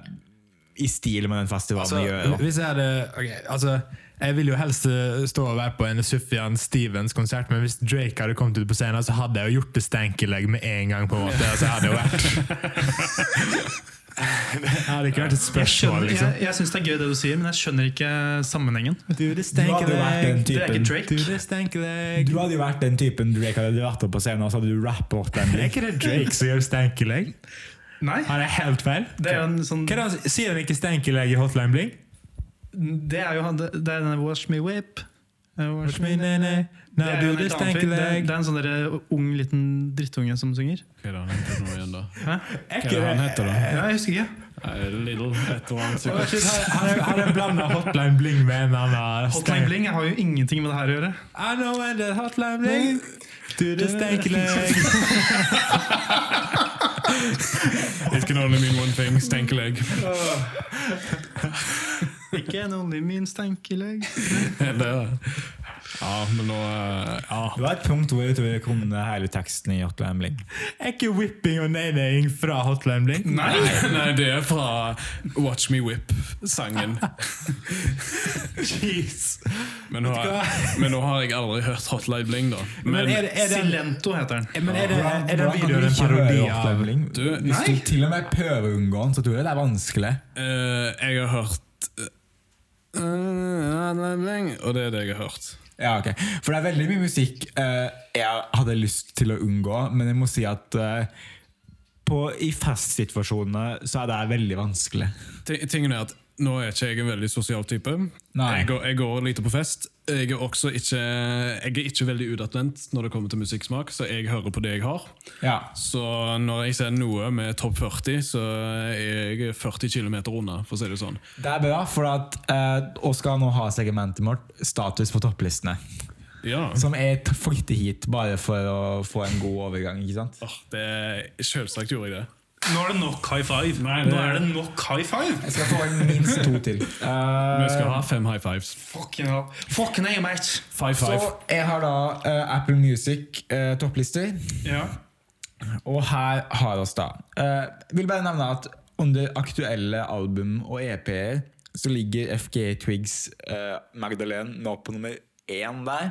[SPEAKER 4] i stil med den festivalen
[SPEAKER 3] Altså,
[SPEAKER 4] å gjøre. da.
[SPEAKER 3] hvis jeg hadde ok, altså, Jeg vil jo helst eh, stå og være på en Sufjan Stevens-konsert, men hvis Drake hadde kommet ut på scenen, så hadde jeg jo gjort det stankeleg med en gang. på en måte altså, jeg hadde jo vært Det hadde ikke vært et
[SPEAKER 2] Jeg,
[SPEAKER 3] spørsmål,
[SPEAKER 2] skjønner-
[SPEAKER 3] liksom.
[SPEAKER 2] jeg, jeg syns det er gøy det du sier, men jeg skjønner ikke sammenhengen.
[SPEAKER 3] Du, det
[SPEAKER 4] Du hadde jo vært den
[SPEAKER 2] Det er
[SPEAKER 4] typen
[SPEAKER 2] ikke Drake.
[SPEAKER 3] det stankeleg.
[SPEAKER 4] Du hadde jo vært den typen Drake hadde vært oppe på scenen, og så hadde du rappet opp den.
[SPEAKER 3] Er ikke det Drake som gjør stankeleg?
[SPEAKER 2] Nei,
[SPEAKER 3] Har jeg helt feil?
[SPEAKER 2] det er jo en sånn
[SPEAKER 3] Hva er det han- Sier han ikke stankeleg i Hotline Bling?
[SPEAKER 2] Det er jo han, det det er denne Wash Me Whip. Eh, Wash Me
[SPEAKER 3] Nei, nei,
[SPEAKER 2] Det
[SPEAKER 3] nei,
[SPEAKER 2] er,
[SPEAKER 3] du,
[SPEAKER 2] jo en
[SPEAKER 3] det
[SPEAKER 2] helt annen fyr. det,
[SPEAKER 3] stankeleg.
[SPEAKER 2] det er en sånn der ung liten drittunge som synger.
[SPEAKER 5] Hva er det han heter nå igjen, da?
[SPEAKER 2] Hæ?
[SPEAKER 5] Hva er det han heter, da?
[SPEAKER 2] Ja, jeg husker ikke.
[SPEAKER 5] Nei, Little et eller annet.
[SPEAKER 3] Å,
[SPEAKER 5] sikkert.
[SPEAKER 3] shit, Han har- han har blanda Hotline Bling med en annen
[SPEAKER 2] Hotline Bling jeg har jo ingenting med det her å gjøre.
[SPEAKER 3] I know when the Hotline Bling Do the stankeleg.
[SPEAKER 5] It can only mean one thing, stenkelegg.
[SPEAKER 2] Ikke en only means tankelegg.
[SPEAKER 5] Det er det. Ja, men nå eh, Ja.
[SPEAKER 4] Det var et punkt hvor jeg tror jeg kom med hele teksten i Hotline Bling.
[SPEAKER 3] Er ikke whipping og nei-neiing fra Hotline Bling?
[SPEAKER 5] Nei, nei, det er fra Watch Me Whip-sangen.
[SPEAKER 3] Jeez.
[SPEAKER 5] Men, nå har- men nå har jeg aldri hørt Hotline Bling, da.
[SPEAKER 3] Men er,
[SPEAKER 5] Men
[SPEAKER 3] det- er det
[SPEAKER 2] Silento heter den.
[SPEAKER 3] men er det, er det
[SPEAKER 4] Hvordan kan du
[SPEAKER 3] videoen en
[SPEAKER 4] ikke høre
[SPEAKER 3] parodi
[SPEAKER 4] Hotline
[SPEAKER 3] av
[SPEAKER 4] Bling?
[SPEAKER 5] du,
[SPEAKER 4] Hvis
[SPEAKER 2] Nei.
[SPEAKER 4] du til og med prøver å unngå den, så tror jeg det er vanskelig.
[SPEAKER 5] eh, jeg har hørt eh, Hotline Bling, og det er det jeg har hørt.
[SPEAKER 4] Ja, ok. For det er veldig mye musikk eh, jeg hadde lyst til å unngå, men jeg må si at eh, på, i festsituasjonene så er det veldig vanskelig.
[SPEAKER 5] Ti- Tingen er at nå er ikke jeg en veldig sosial type.
[SPEAKER 4] Nei.
[SPEAKER 5] Jeg, går, jeg går lite på fest. Jeg er også ikke, jeg er ikke veldig utadvendt når det kommer til musikksmak, så jeg hører på det jeg har.
[SPEAKER 4] Ja.
[SPEAKER 5] Så når jeg ser noe med topp 40, så er jeg 40 km unna, for å si det sånn.
[SPEAKER 4] Det er bra, for at eh, Oskar nå har segmentet vårt status på topplistene.
[SPEAKER 5] Ja.
[SPEAKER 4] Som jeg t- flytter hit bare for å få en god overgang. ikke sant?
[SPEAKER 5] Åh, det, selvsagt gjorde jeg det.
[SPEAKER 2] Nå er det nok high five!
[SPEAKER 5] det-
[SPEAKER 2] Nå er det nok high five!
[SPEAKER 4] Jeg skal få inn minst to til. Eh,
[SPEAKER 5] Vi skal ha fem high fives.
[SPEAKER 2] Fucking hell. Fucking hell, mate!
[SPEAKER 5] Five
[SPEAKER 4] så
[SPEAKER 5] five.
[SPEAKER 4] jeg har da eh, Apple Music eh, topplister.
[SPEAKER 2] Ja.
[SPEAKER 4] Og her har oss da Eh, Vil bare nevne at under aktuelle album og EP-er Så ligger FG Twigs eh, Magdalene nå på nummer én der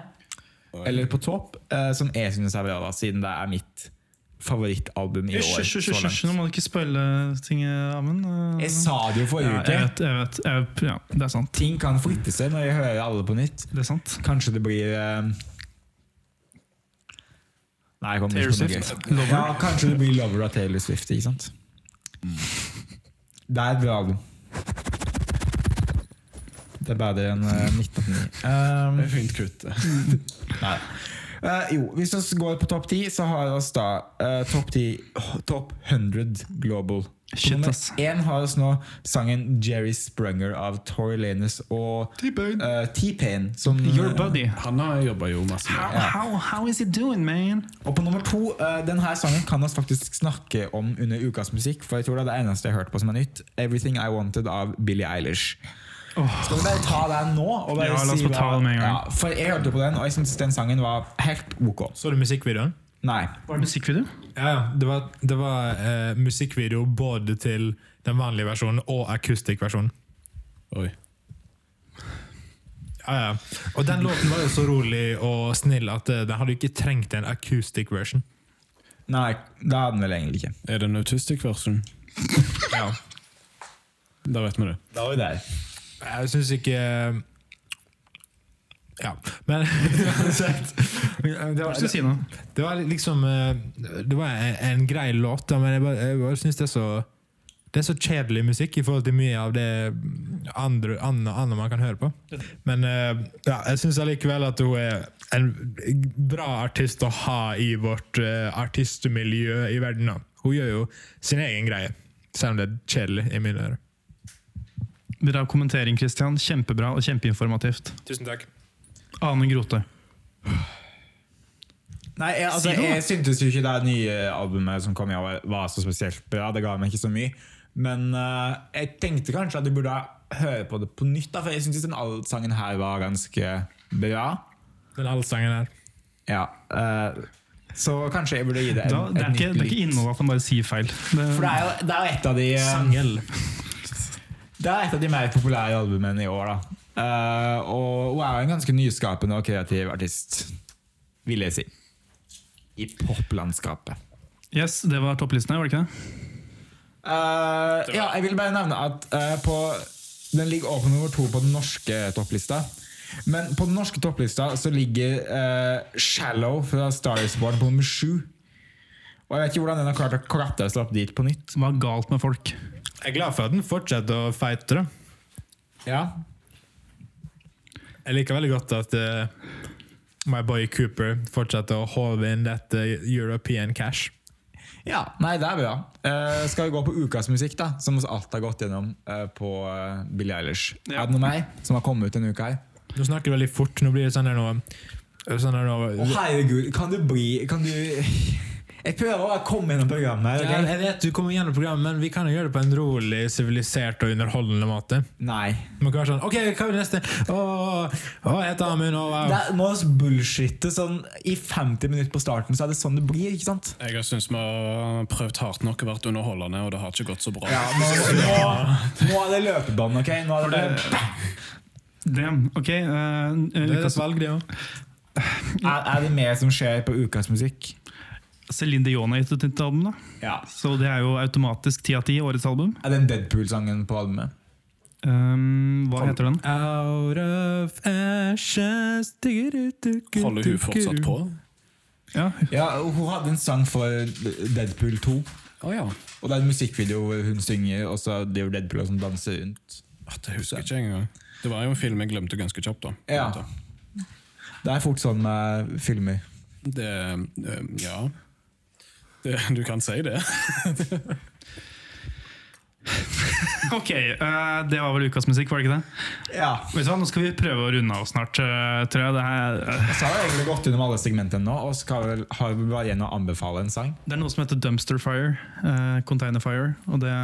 [SPEAKER 4] Eller på topp eh, Som jeg synes er bra da Siden det er mitt favorittalbum i år
[SPEAKER 2] Hysj, hysj,
[SPEAKER 4] så
[SPEAKER 2] hysj, hysj,
[SPEAKER 4] langt.
[SPEAKER 2] nå må du ikke spoile ting, Amund.
[SPEAKER 4] Jeg
[SPEAKER 2] Eh,
[SPEAKER 4] sa det jo
[SPEAKER 2] Ja,
[SPEAKER 4] forrige
[SPEAKER 2] jeg
[SPEAKER 4] uke
[SPEAKER 2] vet, jeg vet. Jeg, ja, det er sant.
[SPEAKER 4] Ting kan flytte seg når jeg hører alle på nytt
[SPEAKER 2] Det er sant.
[SPEAKER 4] Kanskje det blir eh, Nei, jeg kommer
[SPEAKER 2] Taylor
[SPEAKER 4] ikke på noe gøy.
[SPEAKER 2] Swift. Lover.
[SPEAKER 4] Ja, kanskje det blir Lover av Taylor Swift, ikke sant? Det er et bra album. Det er bedre enn eh, 1989. Um,
[SPEAKER 5] Fint kutt.
[SPEAKER 4] nei. Eh, jo, hvis vi går på topp 10, så har vi oss da eh, topp 10 h- Topp 100 global. På
[SPEAKER 2] Shit,
[SPEAKER 4] nummer
[SPEAKER 2] ass.
[SPEAKER 4] én har vi nå sangen Jerry Sprunger av Tory Lanez og
[SPEAKER 5] T-Pain.
[SPEAKER 4] eh, T-Pain. som-
[SPEAKER 2] Your buddy.
[SPEAKER 5] Han har jobba jo masse med.
[SPEAKER 2] Eh, How, how, how is it doing, man?
[SPEAKER 4] Og på nummer to, eh, den her sangen kan vi faktisk snakke om under ukas musikk, for jeg tror det er det eneste jeg har hørt på som er nytt. 'Everything I Wanted' av Billie Eilish. Skal vi bare ta den nå? Og bare
[SPEAKER 2] Ja, la oss
[SPEAKER 4] si
[SPEAKER 2] få ta
[SPEAKER 4] hva-
[SPEAKER 2] den med en gang.
[SPEAKER 4] Ja, for jeg hørte på den, og jeg syntes den sangen var helt ok. altså.
[SPEAKER 3] Så du musikkvideoen?
[SPEAKER 4] Nei.
[SPEAKER 2] Var det musikkvideo?
[SPEAKER 3] Ja, ja. Det var, det var eh, musikkvideo både til den vanlige versjonen og akustikkversjonen.
[SPEAKER 5] Oi.
[SPEAKER 3] Ja, ja. Og den låten var jo så rolig og snill at eh, den hadde jo ikke trengt en acoustic version.
[SPEAKER 4] Nei, det hadde den vel egentlig ikke.
[SPEAKER 5] Er det en autistic version?
[SPEAKER 3] Ja.
[SPEAKER 5] Da vet vi det.
[SPEAKER 4] Da var vi der.
[SPEAKER 3] Jeg syns ikke Ja. Men uansett Det
[SPEAKER 2] Hva skal du si nå?
[SPEAKER 3] Det var liksom eh, Det var en, en grei låt, da, men jeg bare, jeg bare syns det er så Det er så kjedelig musikk i forhold til mye av det andre, annet, annet man kan høre på. Men eh, ja, jeg syns allikevel at hun er en bra artist å ha i vårt eh, artistmiljø i verden. Da. Hun gjør jo sin egen greie, selv om det er kjedelig i mine ører.
[SPEAKER 2] Bra kommentering, Christian. Kjempebra og kjempeinformativt.
[SPEAKER 3] Tusen takk.
[SPEAKER 2] Ane Grote.
[SPEAKER 4] Nei, jeg, altså,
[SPEAKER 2] Si noe, da.
[SPEAKER 4] jeg syntes jo ikke det nye albumet som kom i år var så spesielt bra. Det ga meg ikke så mye. Men eh, jeg tenkte kanskje at jeg burde høre på det på nytt, da, for jeg syntes den all- sangen her var ganske bra.
[SPEAKER 3] Den allsangen her.
[SPEAKER 4] Ja, eh, så kanskje jeg burde gi det en,
[SPEAKER 2] Da, det, er
[SPEAKER 4] en
[SPEAKER 2] ikke, det er ikke innholdet at han bare sier feil. Det,
[SPEAKER 4] For det er jo det er jo et av de eh,
[SPEAKER 3] Sangel.
[SPEAKER 4] Det er et av de mer populære albumene i år. da. Eh, og hun er jo en ganske nyskapende og kreativ artist, vil jeg si. I poplandskapet.
[SPEAKER 2] yes, det var topplistene, var det ikke det?
[SPEAKER 4] Eh, ja, jeg vil bare nevne at eh, på, den ligger åpen nummer to på den norske topplista. Men på den norske topplista så ligger eh, 'Shallow' fra Starsporn på nummer sju. Og jeg vet ikke hvordan den har klart å klatre seg opp dit på nytt.
[SPEAKER 2] Hva er galt med folk?
[SPEAKER 3] Jeg er glad for at den fortsetter å fighte. da.
[SPEAKER 4] Ja,
[SPEAKER 3] Jeg liker veldig godt at eh, my boy Cooper fortsetter å håve inn dette eh, European cash.
[SPEAKER 4] Ja, nei, det er bra. Eh, skal vi gå på ukas musikk, da? Som vi alt har gått gjennom eh, på uh, Billie Eilish.
[SPEAKER 2] Ja.
[SPEAKER 4] Er det noe mer som har kommet ut denne uka her?
[SPEAKER 3] Nå snakker du veldig fort. Nå blir det sånn her nå sånn her nå-
[SPEAKER 4] Å, herregud, kan du bli Kan du Jeg prøver å komme gjennom programmet.
[SPEAKER 3] Ja,
[SPEAKER 4] her, ok?
[SPEAKER 3] jeg vet du kommer gjennom programmet, men vi kan jo gjøre det på en rolig, sivilisert og underholdende måte.
[SPEAKER 4] Nei.
[SPEAKER 3] Man kan være sånn OK, hva er det neste? Å, å, jeg heter Amund, og
[SPEAKER 4] Det
[SPEAKER 3] wow.
[SPEAKER 4] er, må vi bullshitte sånn i 50 minutter på starten, så er det sånn det blir. ikke sant?
[SPEAKER 5] Jeg har syntes vi har prøvd hardt nok og vært underholdende, og det har ikke gått så bra.
[SPEAKER 4] nå, nå, nå er det løpebånd, OK? Nå er det,
[SPEAKER 2] Damn. Ok, eh,
[SPEAKER 3] Det er
[SPEAKER 2] Lukas
[SPEAKER 3] et valg, det òg.
[SPEAKER 4] er, er det mer som skjer på ukas musikk?
[SPEAKER 2] Celine Dion har gitt ut et album, da.
[SPEAKER 4] Ja.
[SPEAKER 2] Så det er jo automatisk ti av ti, årets album.
[SPEAKER 4] Er den Deadpool-sangen på albumet?
[SPEAKER 2] Um, hva heter den?
[SPEAKER 3] Out of ashes
[SPEAKER 5] Holder hun fortsatt på?
[SPEAKER 2] Ja,
[SPEAKER 4] Ja, Hun hadde en sang for Deadpool 2.
[SPEAKER 5] Å ja.
[SPEAKER 4] Og det er en musikkvideo hvor hun synger, og så driver Deadpool og sånn danser rundt.
[SPEAKER 5] Å, Det husker jeg ikke engang. Det var jo en film jeg glemte ganske kjapt. da.
[SPEAKER 4] Ja. Det er fort sånn med filmer.
[SPEAKER 5] Det, eh, ja. Det, du kan si det.
[SPEAKER 2] Ok, eh, det var vel ukas musikk, var det ikke det?
[SPEAKER 4] Ja.
[SPEAKER 2] Vet du hva, Nå skal vi prøve å runde av snart, eh, tror jeg. Det, her,
[SPEAKER 4] Så har vi egentlig gått gjennom alle segmentene nå, og skal vel, har vi bare igjen å anbefale en sang.
[SPEAKER 2] det er noe som heter Dumpster Fire. eh, container Fire. Og det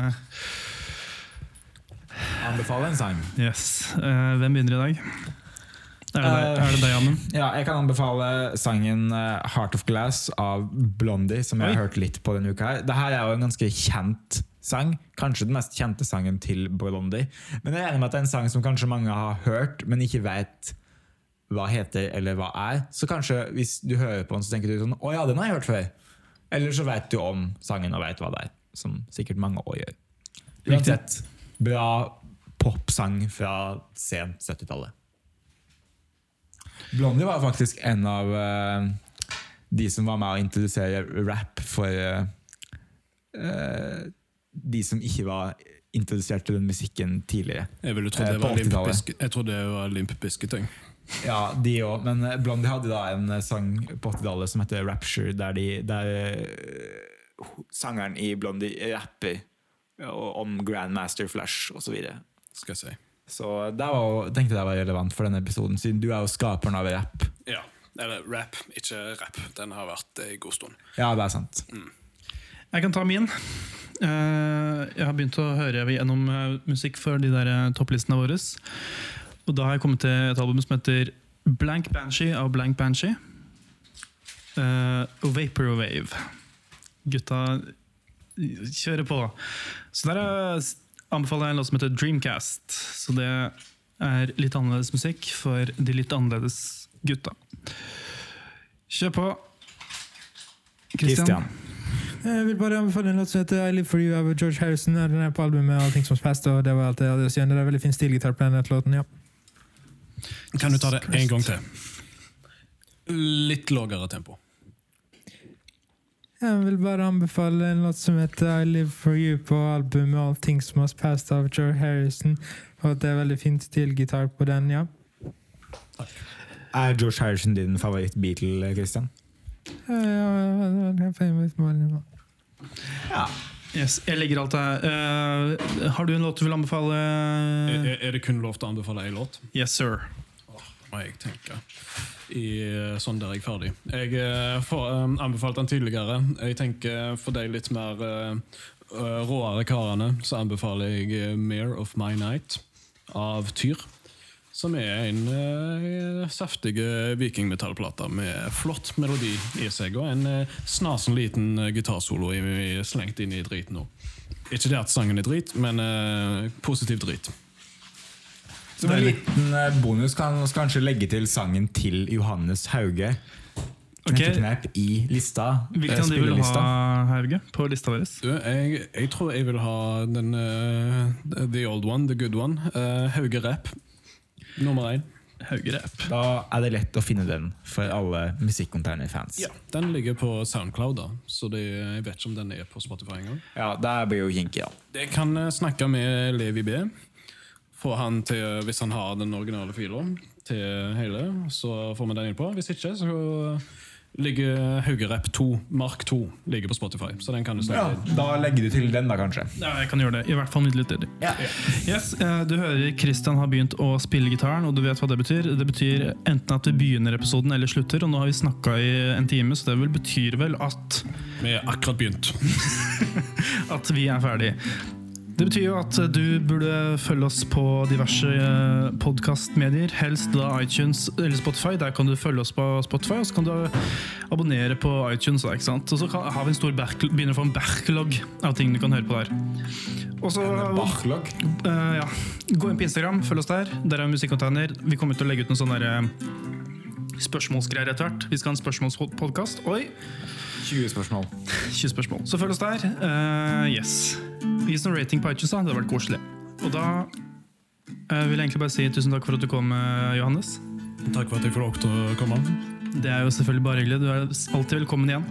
[SPEAKER 4] Anbefale en sang.
[SPEAKER 2] Yes. Eh, hvem begynner i dag? Er det deg,
[SPEAKER 4] Eh,
[SPEAKER 2] er det deg Amund?
[SPEAKER 4] Ja, jeg kan anbefale sangen eh, 'Heart of Glass' av Blondie, som jeg har hørt litt på denne uka. her. Dette er jo en ganske kjent sang. Kanskje den mest kjente sangen til Blondie. Men jeg er enig med at det er en sang som kanskje mange har hørt, men ikke vet hva heter eller hva er. Så kanskje hvis du hører på den, så tenker du sånn 'Å ja, den har jeg hørt før'. Eller så vet du om sangen og vet hva det er, som sikkert mange òg gjør. Uansett, bra popsang fra sent 70-tallet. Blondie var faktisk en av eh, de som var med å introdusere rap for eh, eh, de som ikke var introdusert til den musikken tidligere.
[SPEAKER 5] Jeg ville trodd
[SPEAKER 4] Eh,
[SPEAKER 5] det
[SPEAKER 4] på
[SPEAKER 5] var Limp
[SPEAKER 4] 80-tallet.
[SPEAKER 5] Bizkit- jeg trodde det var Limp Bizkit-ting.
[SPEAKER 4] Ja, de òg, men eh, Blondie hadde da en eh, sang på 80-tallet som heter 'Rapture', der, de, der eh, ho- sangeren i Blondie rapper og- om Grandmaster Flash osv. Så, videre.
[SPEAKER 5] skal jeg si.
[SPEAKER 4] så det var, jo- tenkte jeg var relevant for denne episoden, siden du er jo skaperen av rap.
[SPEAKER 5] Ja. Eller rap, ikke rap. Den har vært en god stund.
[SPEAKER 4] Ja, det er sant.
[SPEAKER 2] Jeg kan ta min. Eh, jeg har begynt å høre gjennom eh, musikk for de der eh, topplistene våre. Og da har jeg kommet til et album som heter Blank Banshee av Blank Banshee. Eh, og Vaporwave. Gutta kjører på. Så der eh, anbefaler jeg en låt som heter Dreamcast. Så det er litt annerledes musikk for de litt annerledes gutta. Kjør på. Christian.
[SPEAKER 3] Jeg vil bare anbefale en låt som heter I Live For You av George Harrison. Den er på albumet Allting som past, og det var alt jeg hadde å si. Det er veldig fin stilgitar på den låten, ja.
[SPEAKER 5] Kan du ta det en gang til? litt lavere tempo.
[SPEAKER 3] Jeg vil bare anbefale en låt som heter I Live For You på albumet All Things Must Pass av Joe Harrison. Og det er veldig fint stilgitar på den, ja.
[SPEAKER 4] Er George Harrison din favoritt-Beatle, eh, Christian?
[SPEAKER 3] Ja, ja, ja, ja, det er famous money, man.
[SPEAKER 4] Ja.
[SPEAKER 2] Yes, jeg legger alt her. Eh, har du en låt du vil
[SPEAKER 5] Er,
[SPEAKER 4] Eh,
[SPEAKER 2] anbefale?
[SPEAKER 5] er- er det kun lov til å anbefale én låt?
[SPEAKER 2] Yes, sir.
[SPEAKER 5] må jeg tenke. I, eh, sånn der er jeg ferdig. Jeg eh, får, eh, anbefalte den tidligere. Jeg tenker for de litt mer eh, eh, råere karene, så anbefaler jeg eh, 'Mare of My Night' av Tyr. Som er en eh, saftig eh, vikingmetallplate med flott melodi i seg, og en eh, snasen liten eh, gitarsolo i- i- slengt inn i driten nå. Ikke det at sangen er drit, men eh, positiv drit.
[SPEAKER 4] Som en liten eh, bonus kan vi kanskje legge til sangen til Johannes Hauge. Knektekneip i lista. eh,
[SPEAKER 2] Hvilken av de vil du
[SPEAKER 4] spillelista.
[SPEAKER 2] ha, Hauge, på lista deres?
[SPEAKER 5] Du, jeg, jeg tror jeg vil ha den eh, The Old One, The Good One. eh, Hauge Rap, nummer én.
[SPEAKER 2] Hauge Rap.
[SPEAKER 4] Da er det lett å finne den for alle Musikkonterner-fans.
[SPEAKER 5] Den ligger på Soundcloud, da, så det, jeg vet ikke om den er på Spotify engang.
[SPEAKER 4] Ja, der blir jo kinkig, ja.
[SPEAKER 5] Jeg kan eh, snakke med Levi B. Få han til, hvis han har den originale fila til hele, så får vi den innpå. Hvis ikke, så ligger Haugerap 2, Mark 2, ligger på Spotify. Så den kan du snakke litt.
[SPEAKER 4] Da legger du til den, da, kanskje.
[SPEAKER 2] Ja, jeg kan gjøre det. I hvert fall midlertidig.
[SPEAKER 4] Ja.
[SPEAKER 2] Yes, eh, du hører Christian har begynt å spille gitaren, og du vet hva det betyr. Det betyr enten at vi begynner episoden eller slutter, og nå har vi snakka i en time, så det vel betyr vel at,
[SPEAKER 5] Vi er akkurat begynt.
[SPEAKER 2] at vi er ferdig. Det betyr jo at eh, du burde følge oss på diverse eh, podkastmedier, helst da iTunes eller Spotify. Der kan du følge oss på Spotify, og så kan du eh, abonnere på iTunes. Da, ikke sant? Og så kan, har vi en stor back, begynner å få en backlog av ting du kan høre på der. Og så
[SPEAKER 4] Backlog.
[SPEAKER 2] Eh, ja. Gå inn på Instagram, følg oss der. Der er Musikkonteiner. Vi kommer til å legge ut noen sånne der, eh, spørsmålsgreier etter hvert. Vi skal ha en spørsmålspodkast. Oi,
[SPEAKER 4] 20 spørsmål.
[SPEAKER 2] 20 spørsmål. Så følg oss der. Eh, yes. Gi oss en rating på iTunes, da. Det hadde vært koselig. Og da eh, vil jeg egentlig bare si tusen takk for at du kom, eh, Johannes.
[SPEAKER 5] Takk for at jeg får lov til å komme.
[SPEAKER 2] Det er jo selvfølgelig bare hyggelig. Du er alltid velkommen igjen.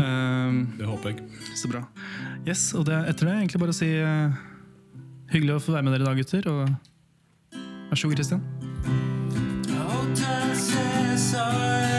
[SPEAKER 2] Eh,
[SPEAKER 5] Det håper jeg.
[SPEAKER 2] så bra. Yes, og det, etter det er egentlig bare å si eh, hyggelig å få være med dere i dag, gutter. Og vær så god, Christian.
[SPEAKER 1] Hotels are